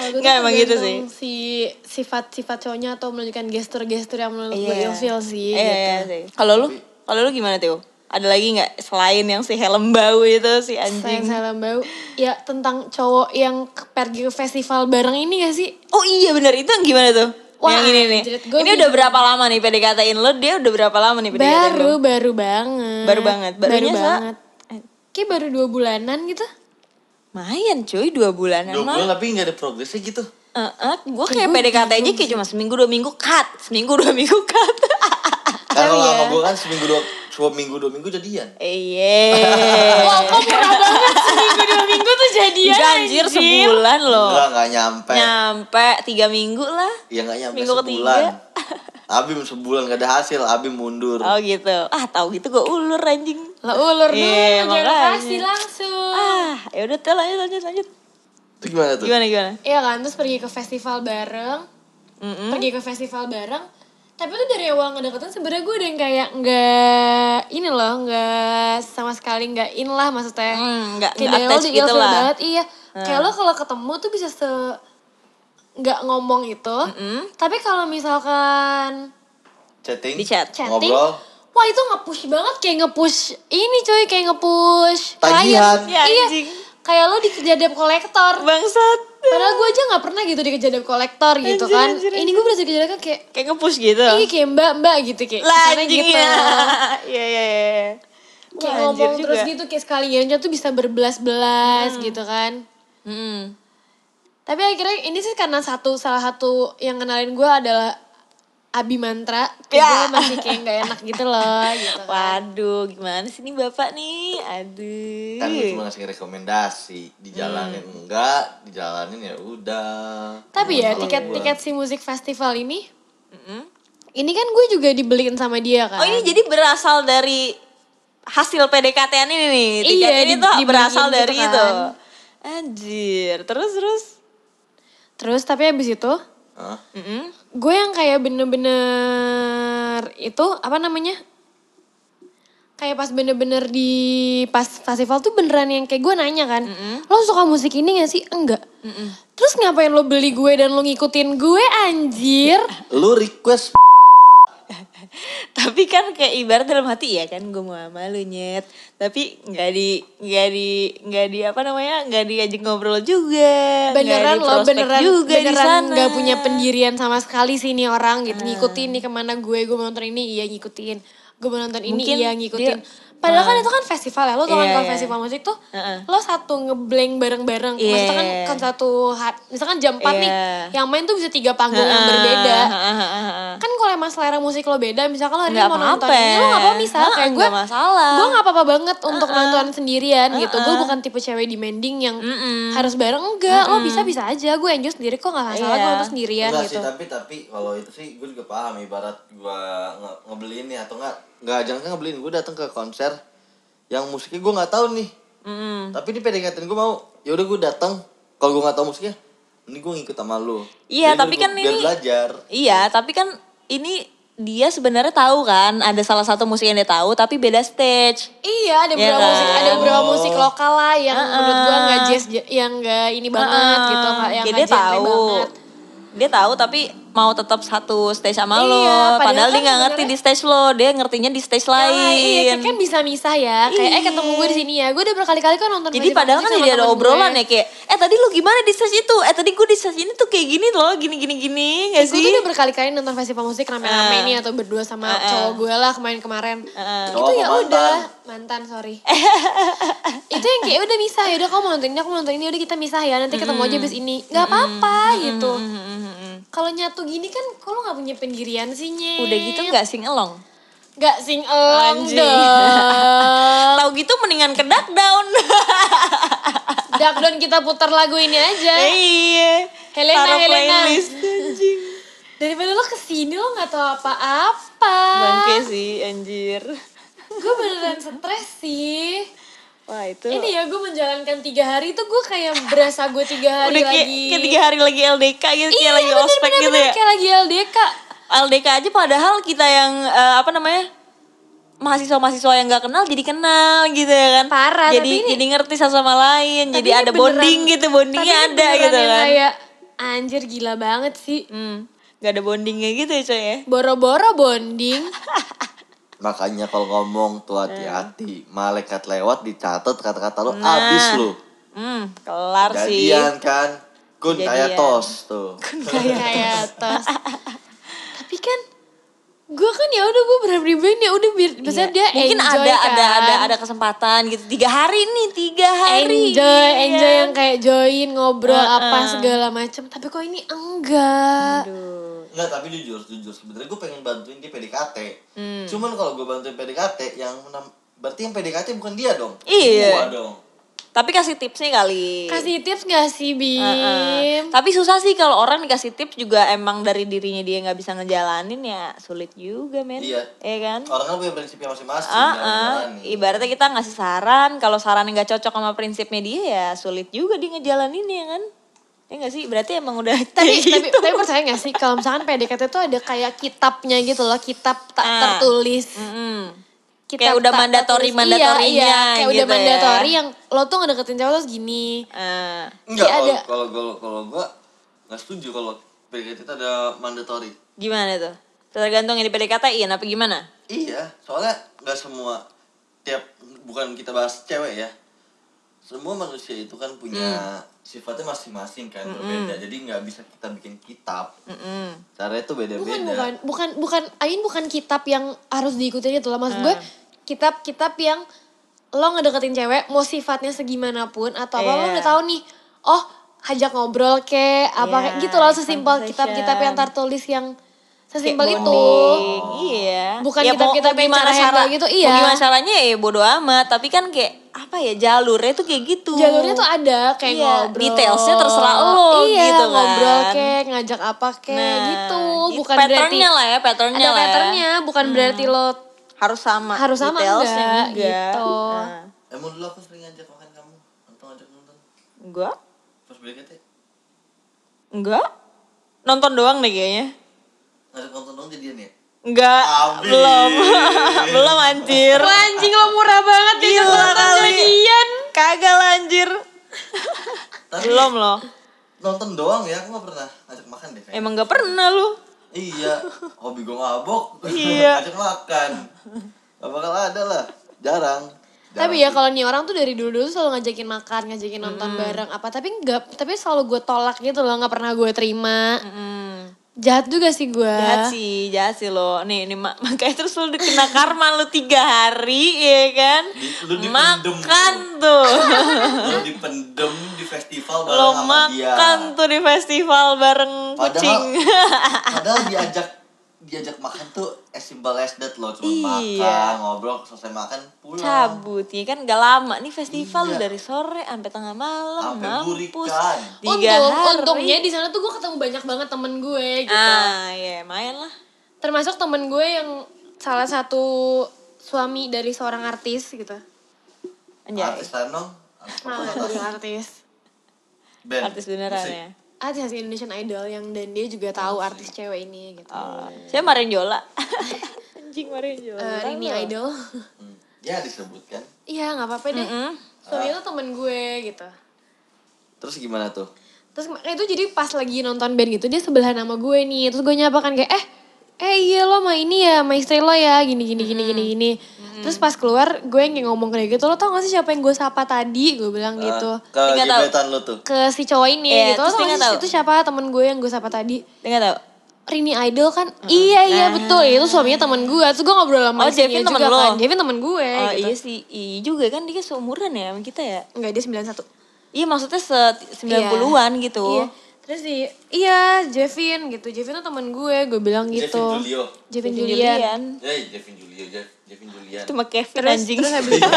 Speaker 3: tuh
Speaker 1: Enggak, emang gitu sih.
Speaker 3: tergantung Si sifat-sifat cowoknya atau menunjukkan gestur-gestur yang menurut gue
Speaker 1: Iya.
Speaker 3: ilfeel sih.
Speaker 1: Iya,
Speaker 3: gitu.
Speaker 1: iya sih. Kalau lu, kalau lu gimana tuh? Ada lagi nggak selain yang si helm bau itu si
Speaker 3: Sayang
Speaker 1: anjing?
Speaker 3: salam bau. Ya tentang cowok yang ke- pergi ke festival bareng ini gak sih?
Speaker 1: Oh iya bener itu yang gimana tuh?
Speaker 3: Wah,
Speaker 1: yang ini nih.
Speaker 3: anjrit, gua
Speaker 1: Ini udah
Speaker 3: bingung.
Speaker 1: berapa lama nih PDKT-in lu? Dia udah berapa lama nih PDKT-in lu?
Speaker 3: Baru, baru banget.
Speaker 1: Baru banget. Barunya
Speaker 3: baru
Speaker 1: Sa?
Speaker 3: banget. Kayak baru dua bulanan gitu.
Speaker 1: Mayan cuy, dua bulanan
Speaker 2: Dua
Speaker 1: mah.
Speaker 2: bulan tapi nggak ada progresnya gitu.
Speaker 1: Eh, eh, gue kayak PDKT aja kayak cuma seminggu dua minggu cut, seminggu dua minggu cut. (laughs) Ah,
Speaker 2: Karena kalau
Speaker 3: ya.
Speaker 2: sama gue kan seminggu dua, dua minggu dua minggu jadian.
Speaker 1: Iya.
Speaker 3: Kok murah banget seminggu dua minggu tuh jadian
Speaker 1: Ganjir sebulan loh.
Speaker 2: Enggak nggak nyampe.
Speaker 1: Nyampe tiga minggu lah.
Speaker 2: Ya nggak nyampe
Speaker 1: Minggu
Speaker 2: sebulan.
Speaker 1: ketiga.
Speaker 2: (laughs) Abim sebulan gak ada hasil, Abim mundur.
Speaker 1: (laughs) Oh gitu. Ah tahu gitu gue ulur anjing.
Speaker 3: Lah ulur dulu,
Speaker 1: Iya,
Speaker 3: jangan
Speaker 1: makanya.
Speaker 3: kasih langsung.
Speaker 1: Ah ya udah tuh lanjut lanjut lanjut.
Speaker 2: Itu gimana tuh?
Speaker 1: Gimana gimana?
Speaker 3: Iya kan, terus pergi ke festival bareng. Pergi ke festival bareng. Tapi tuh dari awal ngedeketin sebenarnya gue ada yang kayak nggak ini loh, nggak sama sekali nggak in lah maksudnya.
Speaker 1: Hmm, nggak-
Speaker 3: Kayak
Speaker 1: nggak
Speaker 3: dari awal
Speaker 1: attached
Speaker 3: di
Speaker 1: gitu
Speaker 3: ilfeel
Speaker 1: lah. Hmm.
Speaker 3: banget, iya. Kayak lo kalau ketemu tuh bisa se nggak ngomong itu. Tapi kalau misalkan
Speaker 2: Chatting,
Speaker 1: Di chat.
Speaker 3: chatting,
Speaker 2: ngobrol,
Speaker 3: wah itu nge-push banget kayak nge-push ini coy, kayak nge-push klien.
Speaker 2: Tagihan.
Speaker 1: Ya,
Speaker 3: iya.
Speaker 1: anjing.
Speaker 3: Kayak lo dikejar debt collector.
Speaker 1: Bangsat.
Speaker 3: Padahal gue aja nggak pernah gitu dikejar debt collector gitu
Speaker 1: Anjir,
Speaker 3: kan.
Speaker 1: anjir,
Speaker 3: Ini gue berasa dikejar kan kayak
Speaker 1: Kayak nge-push gitu.
Speaker 3: Iya kayak mbak mbak gitu kayak
Speaker 1: Lah
Speaker 3: kesannya
Speaker 1: anjing
Speaker 3: gitu.
Speaker 1: ya. (laughs) Iya, iya, iya.
Speaker 3: Kayak
Speaker 1: Wah, anjir
Speaker 3: ngomong
Speaker 1: juga.
Speaker 3: terus
Speaker 1: Hmm.
Speaker 3: gitu kayak sekali ngirimnya tuh bisa berbelas-belas gitu kan.
Speaker 1: Mm-mm.
Speaker 3: Tapi akhirnya ini sih karena satu salah satu yang kenalin gue adalah Abi Mantra.
Speaker 1: Ya.
Speaker 3: Kayak gue masih kayak gak enak gitu loh gitu. kan.
Speaker 1: Waduh, gimana sih nih bapak nih? Aduh.
Speaker 2: kan gue cuma ngasih rekomendasi dijalanin
Speaker 1: Hmm.
Speaker 2: enggak dijalanin ya udah
Speaker 3: Tapi ya
Speaker 2: Masalah gua.
Speaker 3: tiket-tiket si musik festival ini,
Speaker 1: Mm-mm.
Speaker 3: ini kan gue juga dibeliin sama dia kan.
Speaker 1: Oh ini jadi berasal dari hasil PDKT-an ini nih. Tiket
Speaker 3: Iya,
Speaker 1: ini
Speaker 3: di-
Speaker 1: tuh
Speaker 3: dibagiin
Speaker 1: berasal
Speaker 3: gitu
Speaker 1: dari
Speaker 3: kan.
Speaker 1: itu. Anjir, terus terus.
Speaker 3: Terus tapi abis itu
Speaker 2: Hah?
Speaker 1: Mm-mm.
Speaker 3: gue yang kayak bener-bener itu apa namanya kayak pas bener-bener di pas festival tuh beneran yang kayak gue nanya kan lo suka musik ini gak sih enggak terus ngapain lo beli gue dan lo ngikutin gue anjir
Speaker 2: lu request
Speaker 1: Tapi kan kayak ibarat dalam hati ya kan gue mau sama lu nyet. Tapi nggak di nggak di nggak di apa namanya nggak diajak ngobrol juga. Iya, nggak
Speaker 3: beneran lo
Speaker 1: diprospek
Speaker 3: beneran
Speaker 1: juga di
Speaker 3: beneran
Speaker 1: sana. Hmm.
Speaker 3: gak punya pendirian sama sekali sih ini orang gitu ngikutin nih kemana gue gue mau nonton ini iya ngikutin gue mau nonton ini
Speaker 1: Mungkin
Speaker 3: iya ngikutin
Speaker 1: dia- Hmm.
Speaker 3: padahal kan itu kan festival ya lo tau kan
Speaker 1: Iya,
Speaker 3: kalau
Speaker 1: iya.
Speaker 3: festival musik tuh
Speaker 1: Heeh.
Speaker 3: lo satu ngeblank bareng bareng
Speaker 1: Iya.
Speaker 3: maksudnya kan kan satu hat misalkan jam 4 nih
Speaker 1: Iya.
Speaker 3: yang main tuh bisa tiga panggung yang
Speaker 1: Ah,
Speaker 3: berbeda
Speaker 1: ah, ah, ah, ah.
Speaker 3: kan kalau emang selera musik lo beda misalkan lo hari ini
Speaker 1: Nggak
Speaker 3: mau nonton
Speaker 1: apa-apa.
Speaker 3: ini lo gak apa-apa misal
Speaker 1: Heeh,
Speaker 3: kayak gue
Speaker 1: nggak masalah.
Speaker 3: gue gak apa-apa banget untuk nonton sendirian gitu gue bukan tipe cewek demanding yang
Speaker 1: Mm-mm.
Speaker 3: harus bareng enggak lo bisa bisa aja gue enjoy sendiri kok gak masalah gue
Speaker 1: Iya.
Speaker 3: nonton sendirian
Speaker 2: enggak sih
Speaker 3: gitu
Speaker 2: tapi tapi kalau itu sih gue juga paham ibarat gue nge ngebeliin nih atau enggak enggak jangan kan ngebeliin gue datang ke konser yang musiknya gue nggak tahu nih
Speaker 1: Mm-mm.
Speaker 2: tapi di PDKT gue mau ya udah gue datang kalau gue nggak tahu musiknya ini gue ngikut sama lu
Speaker 1: Iya,
Speaker 2: Biar
Speaker 1: tapi
Speaker 2: gua-
Speaker 1: kan
Speaker 2: biar
Speaker 1: ini-
Speaker 2: belajar
Speaker 1: Iya, tapi kan ini dia sebenarnya tahu kan ada salah satu musik yang dia tahu tapi beda stage.
Speaker 3: iya ada
Speaker 1: Iya
Speaker 3: beberapa
Speaker 1: kan?
Speaker 3: musik ada beberapa
Speaker 2: Oh.
Speaker 3: musik lokal lah yang menurut gue nggak jazz yang nggak ini banget
Speaker 1: Ah,
Speaker 3: gitu nggak yang
Speaker 1: kayak
Speaker 3: nggak
Speaker 1: dia
Speaker 3: genre
Speaker 1: tahu.
Speaker 3: banget
Speaker 1: Dia tahu tapi mau tetap satu stage sama
Speaker 3: Iya,
Speaker 1: lo. Padahal,
Speaker 3: padahal
Speaker 1: dia
Speaker 3: kan
Speaker 1: nggak ngerti
Speaker 3: sebenarnya-
Speaker 1: di stage lo, dia ngertinya di stage
Speaker 3: Ya,
Speaker 1: lain.
Speaker 3: iya kayak kan bisa misah ya kayak eh ketemu gue di sini ya gue udah berkali-kali kan nonton
Speaker 1: Jadi padahal kan jadi ada obrolan ya kayak eh tadi lu gimana di stage itu? Eh tadi gue di stage ini tuh kayak gini loh, gini gini gini gak Eh,
Speaker 3: Gue
Speaker 1: sih?
Speaker 3: Ya, tuh udah berkali-kali nonton festival musik rame-rame
Speaker 1: Ah.
Speaker 3: nih atau berdua
Speaker 1: Ah,
Speaker 3: sama
Speaker 1: ah.
Speaker 3: cowok gue lah kemarin-kemarin.
Speaker 1: Heeh.
Speaker 2: Cowok
Speaker 3: Itu ya
Speaker 2: apa mantan?
Speaker 3: udah mantan
Speaker 1: (laughs)
Speaker 3: sorry. itu yang kayak udah misah ya udah kamu mau nonton ini aku mau nonton ini udah kita misah ya nanti ketemu aja abis ini nggak apa-apa gitu.
Speaker 1: Hmm,
Speaker 3: Kalau nyatu gini kan kalau nggak punya pendirian sih nyet.
Speaker 1: Udah gitu nggak sing along.
Speaker 3: Nggak sing along
Speaker 1: Anjing.
Speaker 3: dong.
Speaker 1: Tahu gitu mendingan ke duck down.
Speaker 3: Dakdon kita putar lagu ini aja.
Speaker 1: (laughs) Iya.
Speaker 3: Eh. Helena,
Speaker 1: Taruh
Speaker 3: Helena.
Speaker 1: playlist anjing.
Speaker 3: Daripada lo kesini lo nggak tahu apa-apa.
Speaker 1: Bangke sih anjir.
Speaker 3: Gue beneran stres sih.
Speaker 1: Wah itu.
Speaker 3: Ini ya gue menjalankan tiga hari tuh gue kayak berasa gue tiga hari
Speaker 1: udah
Speaker 3: lagi.
Speaker 1: kayak, kayak tiga hari lagi LDK gitu
Speaker 3: Iya
Speaker 1: kayak lagi
Speaker 3: bener,
Speaker 1: ospek
Speaker 3: bener,
Speaker 1: gitu
Speaker 3: bener,
Speaker 1: ya.
Speaker 3: Kayak lagi LDK.
Speaker 1: LDK aja padahal kita yang eh, apa namanya? mahasiswa-mahasiswa yang gak kenal jadi kenal gitu ya kan
Speaker 3: Parah,
Speaker 1: jadi
Speaker 3: tapi ini-
Speaker 1: jadi ngerti satu sama lain
Speaker 3: Tapi
Speaker 1: jadi
Speaker 3: ini
Speaker 1: ada
Speaker 3: beneran-
Speaker 1: bonding gitu bondingnya
Speaker 3: tapi ini
Speaker 1: ada
Speaker 3: beneran
Speaker 1: gitu
Speaker 3: yang
Speaker 1: kan
Speaker 3: Kayak anjir gila banget sih.
Speaker 1: hmm, gak ada bondingnya gitu ya coy ya
Speaker 3: Boro-boro
Speaker 1: (laughs)
Speaker 3: bonding.
Speaker 2: makanya kalau ngomong tuh
Speaker 1: Hmm.
Speaker 2: hati-hati malaikat lewat dicatat kata-kata lu abis lu
Speaker 1: hmm, kelar Nah, sih
Speaker 2: jadian kan kun
Speaker 1: Jadian.
Speaker 2: kayak tos tuh
Speaker 3: kayak tos.
Speaker 1: (laughs)
Speaker 3: tapi kan gue kan ya udah gue berharap ya udah biar maksudnya dia
Speaker 1: Iya, mungkin
Speaker 3: enjoy
Speaker 1: ada
Speaker 3: kan.
Speaker 1: ada ada ada kesempatan gitu tiga hari nih tiga hari
Speaker 3: enjoy
Speaker 1: Iya.
Speaker 3: enjoy yang kayak join ngobrol
Speaker 1: Uh-uh.
Speaker 3: apa segala macam tapi kok ini enggak
Speaker 1: Aduh.
Speaker 2: Enggak, tapi jujur, jujur sebenarnya gue pengen bantuin dia PDKT. Cuman kalau gue bantuin PDKT, yang menam- berarti yang PDKT bukan dia dong.
Speaker 1: Iya.
Speaker 2: Gua dong.
Speaker 1: tapi kasih tipsnya kali
Speaker 3: kasih tips gak sih Bim?
Speaker 1: Heeh. tapi susah sih kalau orang dikasih tips juga emang dari dirinya dia nggak bisa ngejalanin ya sulit juga men
Speaker 2: Iya.
Speaker 1: Iya kan
Speaker 2: Orang kan punya prinsipnya masing-masing.
Speaker 1: Ah,
Speaker 2: dalam
Speaker 1: ah.
Speaker 2: menjalani.
Speaker 1: ibaratnya kita ngasih saran kalau saran nggak cocok sama prinsipnya dia ya sulit juga dia ngejalanin ya kan Ya gak sih? Berarti emang udah
Speaker 3: (laughs) tapi,
Speaker 1: kayak gitu.
Speaker 3: tapi tapi percaya gak sih kalau misalkan PDKT itu ada kayak kitabnya gitu loh kitab tak
Speaker 1: Ah.
Speaker 3: tertulis
Speaker 1: Mm-mm. Kayak
Speaker 3: kitab
Speaker 1: udah
Speaker 3: tak
Speaker 1: mandatory-
Speaker 3: tertulis.
Speaker 1: mandatorinya
Speaker 3: iya, iya, kayak udah
Speaker 1: gitu ya.
Speaker 3: mandatori yang lo tuh ngedeketin cowok tuh segini
Speaker 1: Eh,
Speaker 2: Enggak,
Speaker 3: Iya,
Speaker 2: kalau-
Speaker 3: ada.
Speaker 2: kalau kalau kalau gua nggak setuju kalau PDKT itu ada mandatory.
Speaker 1: gimana tuh? Tergantung yang di PDKT-in apa gimana?
Speaker 2: Iya, soalnya nggak semua tiap bukan kita bahas cewek ya. Semua manusia itu kan punya sifatnya masing-masing kan berbeda. Jadi nggak bisa kita bikin kitab.
Speaker 1: Hmm. Mm-mm.
Speaker 2: Caranya itu
Speaker 3: bukan
Speaker 2: beda-beda.
Speaker 3: bukan bukan bukan Ain bukan kitab yang harus diikuti gitu
Speaker 1: Ah.
Speaker 3: loh maksud gue kitab-kitab yang lo ngedeketin cewek mau sifatnya segimanapun atau apa lo
Speaker 1: Iya.
Speaker 3: udah tahu nih oh hajak ngobrol ke apa
Speaker 1: Iya,
Speaker 3: kayak gitu loh sesimpel
Speaker 1: conversation.
Speaker 3: kitab-kitab yang tertulis yang
Speaker 1: Kayak
Speaker 3: sesimpel itu
Speaker 1: bonding, Iya.
Speaker 3: Bukan
Speaker 1: Ya, mau-
Speaker 3: kitab-kitab
Speaker 1: mau
Speaker 3: yang cara handle gitu, iya.
Speaker 1: Mau gimana caranya ya bodo amat. Tapi kan kayak apa ya jalurnya tuh kayak gitu.
Speaker 3: jalurnya tuh ada kayak
Speaker 1: Iya,
Speaker 3: ngobrol
Speaker 1: detailsnya terserah lo
Speaker 3: iya,
Speaker 1: gitu kan.
Speaker 3: ngobrol ke ngajak apa ke
Speaker 1: Nah,
Speaker 3: gitu
Speaker 1: i-
Speaker 3: bukan berarti
Speaker 1: patternnya lah ya, patternnya lah
Speaker 3: ada
Speaker 1: ya. Hmm.
Speaker 3: patternnya bukan berarti lo
Speaker 1: Harus sama.
Speaker 3: Harus sama
Speaker 1: detailsnya
Speaker 3: enggak,
Speaker 1: juga.
Speaker 3: gitu.
Speaker 1: Nah,
Speaker 2: Emang dulu aku sering ngajak makan kamu nonton ngajak nonton
Speaker 1: gua
Speaker 2: pas PDKT
Speaker 1: enggak nonton doang deh kayaknya.
Speaker 2: ngajak nonton dong jadian ya.
Speaker 1: Enggak,
Speaker 2: Habis.
Speaker 1: belum. (laughs) belum anjir.
Speaker 3: Wah, anjing lo murah banget
Speaker 1: Gila
Speaker 3: ya nonton
Speaker 1: kali.
Speaker 3: jadian.
Speaker 1: Kagak lah,
Speaker 3: (laughs)
Speaker 1: anjir.
Speaker 2: Tapi
Speaker 1: belum loh.
Speaker 2: nonton doang ya, aku nggak pernah ngajak makan deh. Kayaknya.
Speaker 1: Emang gak pernah lu.
Speaker 2: Iya, hobi gue mabok.
Speaker 1: Iya.
Speaker 2: (laughs) ngajak makan. Gak bakal ada lah, jarang.
Speaker 3: Tapi ya kalau nih orang tuh dari dulu-dulu selalu ngajakin makan, ngajakin nonton
Speaker 1: Hmm.
Speaker 3: bareng apa, tapi enggak, tapi selalu gue tolak gitu loh, nggak pernah gue terima.
Speaker 1: Hmm.
Speaker 3: Jahat juga sih gue.
Speaker 1: Jahat sih, jahat sih lo. Nih, nih mak (laughs) makanya terus lo kena karma lo tiga hari, ya kan?
Speaker 2: Lu dipendem
Speaker 1: makan tuh.
Speaker 2: (laughs)
Speaker 1: (laughs)
Speaker 2: lo dipendem di festival bareng
Speaker 1: lo
Speaker 2: sama dia.
Speaker 1: makan tuh di festival bareng kucing. (laughs)
Speaker 2: Padahal diajak diajak makan tuh as simple as that loh, cuma makan,
Speaker 1: Iya.
Speaker 2: ngobrol, selesai makan pulang.
Speaker 1: Cabut, ya kan gak lama. Nih festival lo
Speaker 2: Iya.
Speaker 1: dari sore sampai tengah malam.
Speaker 2: Sampai
Speaker 1: Mampus.
Speaker 2: burikan.
Speaker 1: Tiga
Speaker 3: Untung,
Speaker 1: hari.
Speaker 3: untungnya di sana tuh gue ketemu banyak banget temen gue gitu.
Speaker 1: Ah, ya main lah.
Speaker 3: Termasuk temen gue yang salah satu suami dari seorang artis gitu.
Speaker 1: Anjay.
Speaker 2: Artis Tanong,
Speaker 1: Oh, Ah.
Speaker 3: Nah, dari
Speaker 1: iya.
Speaker 3: artis.
Speaker 2: band.
Speaker 1: Artis beneran
Speaker 2: musik.
Speaker 1: ya.
Speaker 3: Artis artis Indonesian Idol yang dan dia juga tahu artis cewek ini gitu.
Speaker 1: Oh. Saya Marion (laughs) Jola. Anjing Marion Jola.
Speaker 3: Eh, Rini Idol. (laughs)
Speaker 2: Hmm. Ya disebutkan.
Speaker 3: Iya nggak apa-apa deh. Suami itu temen gue gitu.
Speaker 2: Terus gimana tuh?
Speaker 3: Terus kayak itu jadi pas lagi nonton band gitu dia sebelah nama gue nih. Terus gue nyapa kan kayak eh eh iya lo sama ini ya, sama istri lo ya, gini gini gini gini
Speaker 1: Hmm.
Speaker 3: gini. Terus pas keluar gue yang ngomong kayak gitu, lo tau gak sih siapa yang gue sapa tadi? Gue bilang gitu.
Speaker 2: Ah, Ke
Speaker 1: Tinggal tahu.
Speaker 2: gebetan lo tuh.
Speaker 3: Ke si cowok
Speaker 1: Eh.
Speaker 3: ini
Speaker 1: Iya,
Speaker 3: gitu. Lo
Speaker 1: terus
Speaker 3: tau
Speaker 1: dia
Speaker 3: gak
Speaker 1: nggak
Speaker 3: sih
Speaker 1: tahu.
Speaker 3: itu siapa temen gue yang gue sapa tadi?
Speaker 1: Dengar tau?
Speaker 3: Rini Idol kan? Iya iya betul. Itu suaminya temen gue. Terus gue ngobrol sama
Speaker 1: Hmm. Nah. Oh,
Speaker 3: istrinya
Speaker 1: Jevin temen
Speaker 3: juga
Speaker 1: lo?
Speaker 3: kan. Jevin temen gue
Speaker 1: Oh
Speaker 3: gitu.
Speaker 1: iya sih, iya juga kan dia seumuran ya sama kita ya.
Speaker 3: Enggak dia 91.
Speaker 1: Iya maksudnya se 90-an gitu.
Speaker 3: Iya. Terus di iya Jevin gitu. Jevin tuh temen gue, gue bilang
Speaker 2: Jevin
Speaker 3: gitu.
Speaker 2: Julio.
Speaker 3: Jevin
Speaker 1: Kevin
Speaker 3: Julian.
Speaker 1: Julian.
Speaker 2: Eh, Jevin Julio, Jev- Jevin Julian.
Speaker 1: Itu sama Kevin
Speaker 3: Terus,
Speaker 1: anjing. (laughs)
Speaker 3: terus habis itu,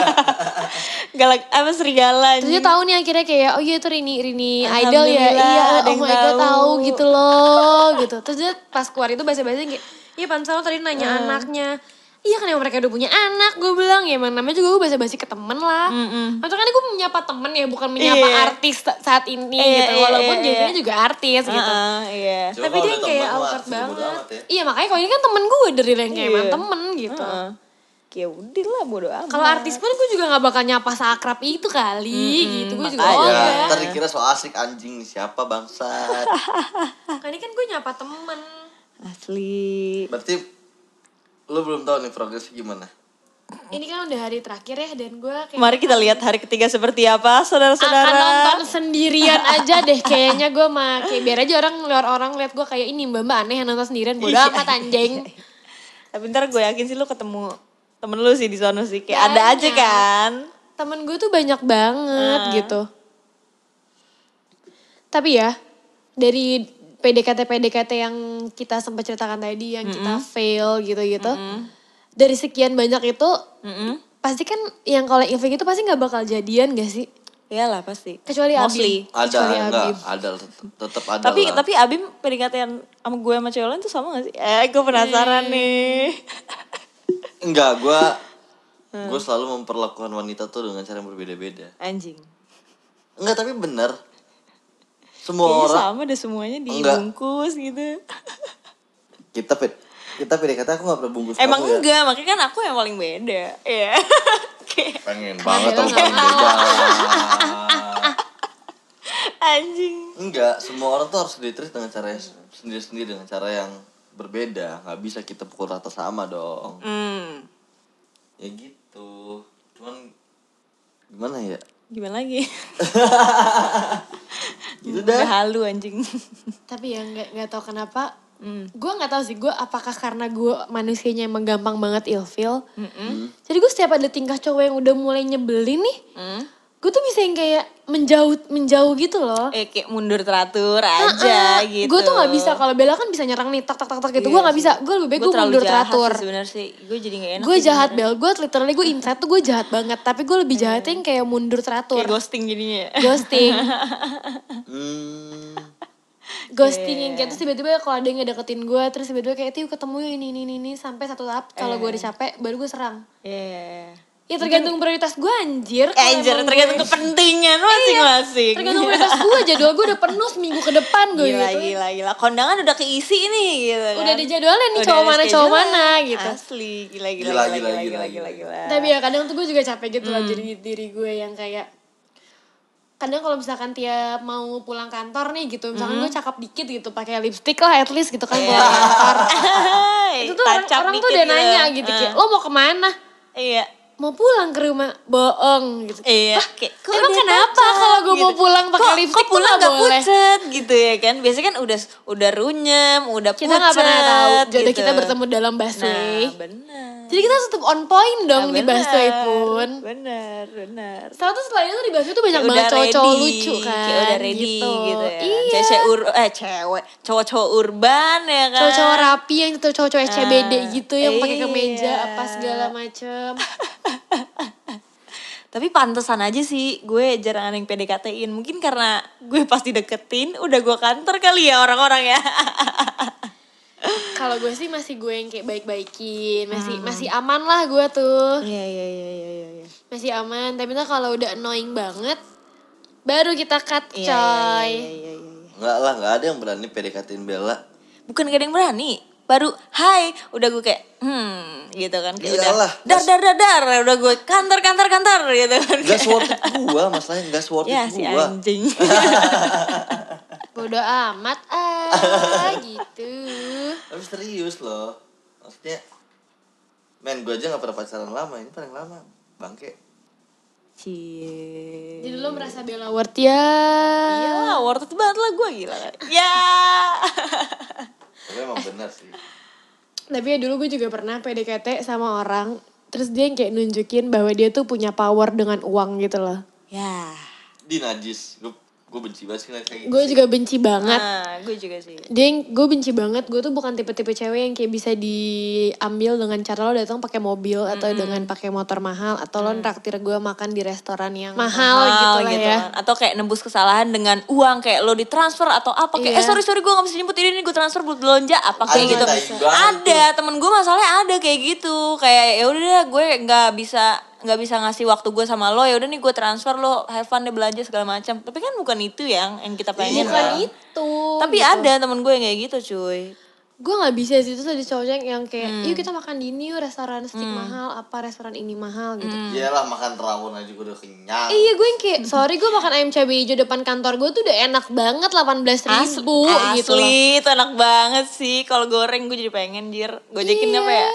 Speaker 1: Galak apa serigala
Speaker 3: terus
Speaker 1: anjing.
Speaker 3: dia tahu nih akhirnya kayak oh iya itu Rini Rini idol ya.
Speaker 1: Alhamdulillah,
Speaker 3: Iya,
Speaker 1: ada
Speaker 3: oh
Speaker 1: yang
Speaker 3: my god
Speaker 1: tahu.
Speaker 3: tahu gitu loh gitu. Terus dia pas keluar itu basa-basi kayak iya pantas lo tadi
Speaker 1: Hmm.
Speaker 3: nanya anaknya. Iya kan emang mereka udah punya anak gue bilang ya emang namanya juga gue basa-basi ke temen lah.
Speaker 1: Mm-mm.
Speaker 3: Maksudnya kan gue menyapa temen ya bukan menyapa
Speaker 1: Iya.
Speaker 3: artis sa- saat ini
Speaker 1: Iya,
Speaker 3: gitu.
Speaker 1: iya,
Speaker 3: Walaupun
Speaker 1: iya,
Speaker 3: Jevinnya
Speaker 1: iya.
Speaker 3: juga artis gitu.
Speaker 1: Heeh, iya.
Speaker 2: Cuma
Speaker 3: tapi
Speaker 2: kalau
Speaker 3: dia
Speaker 2: udah
Speaker 3: kayak
Speaker 2: temen mah,
Speaker 3: awkward
Speaker 2: sebodo
Speaker 3: banget.
Speaker 2: amat ya.
Speaker 3: Iya makanya kalau ini kan temen gue dari yang kayak emang
Speaker 1: Iya.
Speaker 3: temen gitu.
Speaker 1: Heeh. Ya udah lah bodo amat.
Speaker 3: Kalau artis pun gue juga gak bakal nyapa seakrab itu kali gitu. Gue juga
Speaker 1: makanya.
Speaker 3: oh
Speaker 2: ya,
Speaker 3: enggak.
Speaker 2: ntar dikira so asik anjing siapa bangsat.
Speaker 3: Kali ini kan gue nyapa temen.
Speaker 1: asli.
Speaker 2: Berarti lu belum tahu nih progresnya gimana.
Speaker 3: Ini kan udah hari terakhir ya dan gue kayak
Speaker 1: Mari kita lihat hari ketiga seperti apa
Speaker 3: akan
Speaker 1: saudara-saudara.
Speaker 3: nonton sendirian aja (laughs) deh kayaknya gue mah kayak biar aja orang luar orang lihat gue kayak ini mbak mbak aneh yang nonton sendirian bodoh
Speaker 1: Iya,
Speaker 3: amat anjing (laughs)
Speaker 1: Tapi ntar gue yakin sih lu ketemu temen lu sih di sono sih. Kayak ada
Speaker 3: Banyak.
Speaker 1: aja kan.
Speaker 3: temen gue tuh banyak banget gitu tapi ya dari PDKT PDKT yang kita sempat ceritakan tadi yang kita fail gitu-gitu dari sekian banyak itu
Speaker 1: Heeh.
Speaker 3: pasti kan yang kalau ilfil itu pasti nggak bakal jadian gak sih
Speaker 1: Iyalah Iya pasti.
Speaker 3: kecuali
Speaker 1: Mostly.
Speaker 3: Abim
Speaker 2: Ada
Speaker 3: kecuali
Speaker 2: enggak?
Speaker 3: Abim
Speaker 2: Ada tet- tetep ada.
Speaker 1: Tapi
Speaker 2: lah.
Speaker 1: tapi Abim pendekatan sama gue sama cewek lain tuh sama gak sih? Eh, gue penasaran
Speaker 3: Hmm.
Speaker 1: nih. (laughs)
Speaker 2: enggak gua gua selalu memperlakukan wanita tuh dengan cara yang berbeda-beda.
Speaker 1: Anjing.
Speaker 2: Enggak, tapi bener. semua
Speaker 1: Kayaknya
Speaker 2: orang
Speaker 1: Iya, sama deh semuanya
Speaker 2: Enggak.
Speaker 1: dibungkus
Speaker 2: (laughs)
Speaker 1: gitu.
Speaker 2: kita ped kita PDKT aku gak pernah bungkus
Speaker 1: Emang
Speaker 2: kamu ya?
Speaker 1: enggak, makanya kan aku yang paling beda. Iya. (laughs) Kayak
Speaker 2: pengen banget
Speaker 3: Bella
Speaker 2: dong
Speaker 3: nggak
Speaker 2: paling beda
Speaker 1: anjing.
Speaker 2: (laughs) enggak semua orang tuh harus ditreat dengan cara sendiri sendiri dengan cara yang berbeda nggak bisa kita pukul rata sama dong
Speaker 1: Hmm.
Speaker 2: ya gitu cuman gimana ya
Speaker 1: Gimana
Speaker 2: (laughs)
Speaker 1: lagi? Hmm,
Speaker 2: itu
Speaker 1: Udah
Speaker 2: dah
Speaker 1: halu anjing. (laughs)
Speaker 3: Tapi ya nggak nggak tahu kenapa.
Speaker 1: Hmm.
Speaker 3: Gue nggak tahu sih gue apakah karena gue manusianya emang gampang banget ilfil.
Speaker 1: hmm,
Speaker 3: Jadi gue setiap ada tingkah cowok yang udah mulai nyebelin nih,
Speaker 1: Hmm.
Speaker 3: gue tuh bisa yang kayak menjauh menjauh gitu loh.
Speaker 1: Eh kayak mundur teratur aja gitu. Iya
Speaker 3: Gue tuh nggak bisa kalau Bella kan bisa nyerang nih tak tak tak tak gitu. gue nggak bisa. Gue lebih baik
Speaker 1: Gua
Speaker 3: gue
Speaker 1: terlalu
Speaker 3: mundur
Speaker 1: jahat sih
Speaker 3: teratur.
Speaker 1: Sebenarnya sih gue jadi gak enak.
Speaker 3: Gue
Speaker 1: sih
Speaker 3: jahat
Speaker 1: sebenarnya.
Speaker 3: Bel, gue literally gue insight tuh gue jahat banget. Tapi gue lebih jahatnya yang kayak mundur teratur.
Speaker 1: Kayak ghosting jadinya. ya. (laughs)
Speaker 3: Ghosting,
Speaker 2: hmm,
Speaker 3: ghosting yang kayak terus tiba-tiba kalau ada yang ngedeketin gue terus tiba-tiba kayak tuh ketemu yuk ini ini ini, ini sampai satu tahap kalau
Speaker 1: Eh.
Speaker 3: gue udah capek baru gue serang.
Speaker 1: Iya.
Speaker 3: Ya tergantung prioritas gue anjir. kalau
Speaker 1: Eh, Anjir,
Speaker 3: emang
Speaker 1: tergantung
Speaker 3: gue-
Speaker 1: kepentingan masing-masing.
Speaker 3: Iya. tergantung
Speaker 1: (laughs)
Speaker 3: prioritas gue jadwal gue udah penuh seminggu ke depan gue
Speaker 1: gila,
Speaker 3: gitu.
Speaker 1: gila, gila. Kondangan udah keisi nih gitu kan.
Speaker 3: Udah ada jadwalnya nih
Speaker 1: Udah
Speaker 3: cowok
Speaker 1: ada
Speaker 3: mana cowok
Speaker 1: schedulean.
Speaker 3: mana gitu.
Speaker 1: Asli, gila, gila,
Speaker 2: Gila,
Speaker 1: gila, gila,
Speaker 2: gila,
Speaker 1: gila,
Speaker 2: gila,
Speaker 1: gila, gila.
Speaker 3: Tapi (laughs) ya kadang tuh gue juga capek gitu loh
Speaker 1: Hmm.
Speaker 3: jadi diri gue yang kayak kadang kalau misalkan tiap mau pulang kantor nih gitu
Speaker 1: Hmm.
Speaker 3: misalkan gue cakep dikit gitu pakai lipstick lah at least gitu kan pulang kantor itu tuh
Speaker 1: Iya.
Speaker 3: orang,
Speaker 1: Tancap
Speaker 3: orang tuh
Speaker 1: dikit
Speaker 3: udah
Speaker 1: gitu.
Speaker 3: nanya gitu kayak lo mau kemana
Speaker 1: Iya,
Speaker 3: mau pulang ke rumah bohong gitu
Speaker 1: iya. Kayak, kok
Speaker 3: emang
Speaker 1: udah
Speaker 3: kenapa
Speaker 1: tancap
Speaker 3: kalau gue mau
Speaker 1: gitu?
Speaker 3: pulang pakai
Speaker 1: Kok-
Speaker 3: lipstick
Speaker 1: kok pulang
Speaker 3: tuh gak boleh
Speaker 1: pucet gitu ya kan biasanya kan udah udah runyem udah
Speaker 3: kita
Speaker 1: pucet
Speaker 3: nggak pernah tahu jodoh
Speaker 1: gitu.
Speaker 3: kita bertemu dalam busway
Speaker 1: nah benar Nah,
Speaker 3: jadi kita harus tetap on point dong di busway pun
Speaker 1: benar benar
Speaker 3: Setelah itu setelah itu tuh di busway tuh banyak
Speaker 1: Kayak
Speaker 3: banget cowok-cowok
Speaker 1: ready,
Speaker 3: lucu kan
Speaker 1: kayak udah ready gitu, ya.
Speaker 3: iya
Speaker 1: Cewek ur eh cewek, cowok-cowok urban ya kan.
Speaker 3: cowok-cowok rapi yang itu cowok-cowok SCBD
Speaker 1: Ah,
Speaker 3: gitu yang pakai
Speaker 1: iya.
Speaker 3: kemeja apa segala macem (laughs)
Speaker 1: Tapi pantesan aja sih gue jarang ada yang PDKT-in. Mungkin karena gue pasti deketin, udah gue kantor kali ya orang-orang ya.
Speaker 3: kalau gue sih masih gue yang kayak baik-baikin masih
Speaker 1: Hmm.
Speaker 3: masih aman lah gue tuh
Speaker 1: Iya iya iya iya iya. iya.
Speaker 3: masih aman tapi tuh kalau udah annoying banget baru kita cut coy
Speaker 1: Iya, iya, iya, iya, iya, iya.
Speaker 2: nggak lah nggak ada yang berani PDKTin Bella
Speaker 1: Bukan gak ada yang berani. Baru hai, udah gue kayak hmm gitu kan kayak
Speaker 2: Iyalah.
Speaker 1: udah dar dar dar dar udah gue kantor kantor kantor gitu kan.
Speaker 2: Gak
Speaker 1: (laughs)
Speaker 2: worth it gua masalahnya gak worth it
Speaker 1: Ya si
Speaker 2: gua (laughs)
Speaker 1: anjing.
Speaker 3: bodoh amat
Speaker 1: (laughs)
Speaker 3: ah gitu
Speaker 2: tapi serius loh maksudnya men gua aja gak pernah pacaran lama ini paling lama bangke
Speaker 1: Cie.
Speaker 3: jadi lo merasa bela worth ya
Speaker 1: Iya
Speaker 3: Eh.
Speaker 1: lah, worth it banget lah gue gila.
Speaker 3: (laughs)
Speaker 1: Ya.
Speaker 2: tapi emang benar sih
Speaker 3: tapi ya dulu gue juga pernah PDKT sama orang terus dia yang kayak nunjukin bahwa dia tuh punya power dengan uang gitu loh
Speaker 1: ya.
Speaker 2: di najis gua gua benci banget sih najis kayak gitu
Speaker 3: gue juga benci banget
Speaker 1: Nah, gue juga sih.
Speaker 3: dia yang- gue benci banget gue tuh bukan tipe-tipe cewek yang kayak bisa diambil dengan cara lo datang pakai mobil atau dengan pakai motor mahal atau lo traktir gue makan di restoran yang Mm. mahal, gitu lah ya
Speaker 1: kan. Atau kayak nembus kesalahan dengan uang kayak lo ditransfer atau apa kayak eh
Speaker 3: Iya.
Speaker 1: sorry sorry gue gak bisa jemput ini nih gue transfer buat belanja apa kayak
Speaker 2: Ada
Speaker 1: gitu.
Speaker 2: yang tai banget
Speaker 1: Ada temen gue masalahnya ada kayak gitu kayak ya udah deh, gue nggak bisa nggak bisa ngasih waktu gue sama lo ya udah nih gue transfer lo have fun deh belanja segala macam tapi kan bukan itu yang yang
Speaker 2: Iya.
Speaker 1: kita pengen
Speaker 3: bukan
Speaker 1: kan.
Speaker 3: itu
Speaker 1: tapi
Speaker 3: gitu.
Speaker 1: ada temen gue yang kayak gitu cuy
Speaker 3: gue nggak bisa sih terus ada cowok yang, yang kayak yuk kita makan di ini yuk restoran steak mahal apa restoran ini mahal gitu
Speaker 2: Iyalah makan terawon aja gua udah kenyang
Speaker 3: Iya gue yang kayak sorry gue makan ayam cabai hijau depan kantor gue tuh udah enak banget 18.000
Speaker 1: Asli,
Speaker 3: ribu gitu loh.
Speaker 1: asli itu enak banget sih. Kalau goreng gue jadi pengen jir. Gojekin
Speaker 3: Iya.
Speaker 1: apa ya?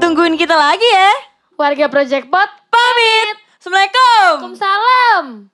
Speaker 1: Tungguin kita lagi ya.
Speaker 3: Warga Project Pot ya.
Speaker 1: Pamit. Assalamualaikum.
Speaker 3: Salam.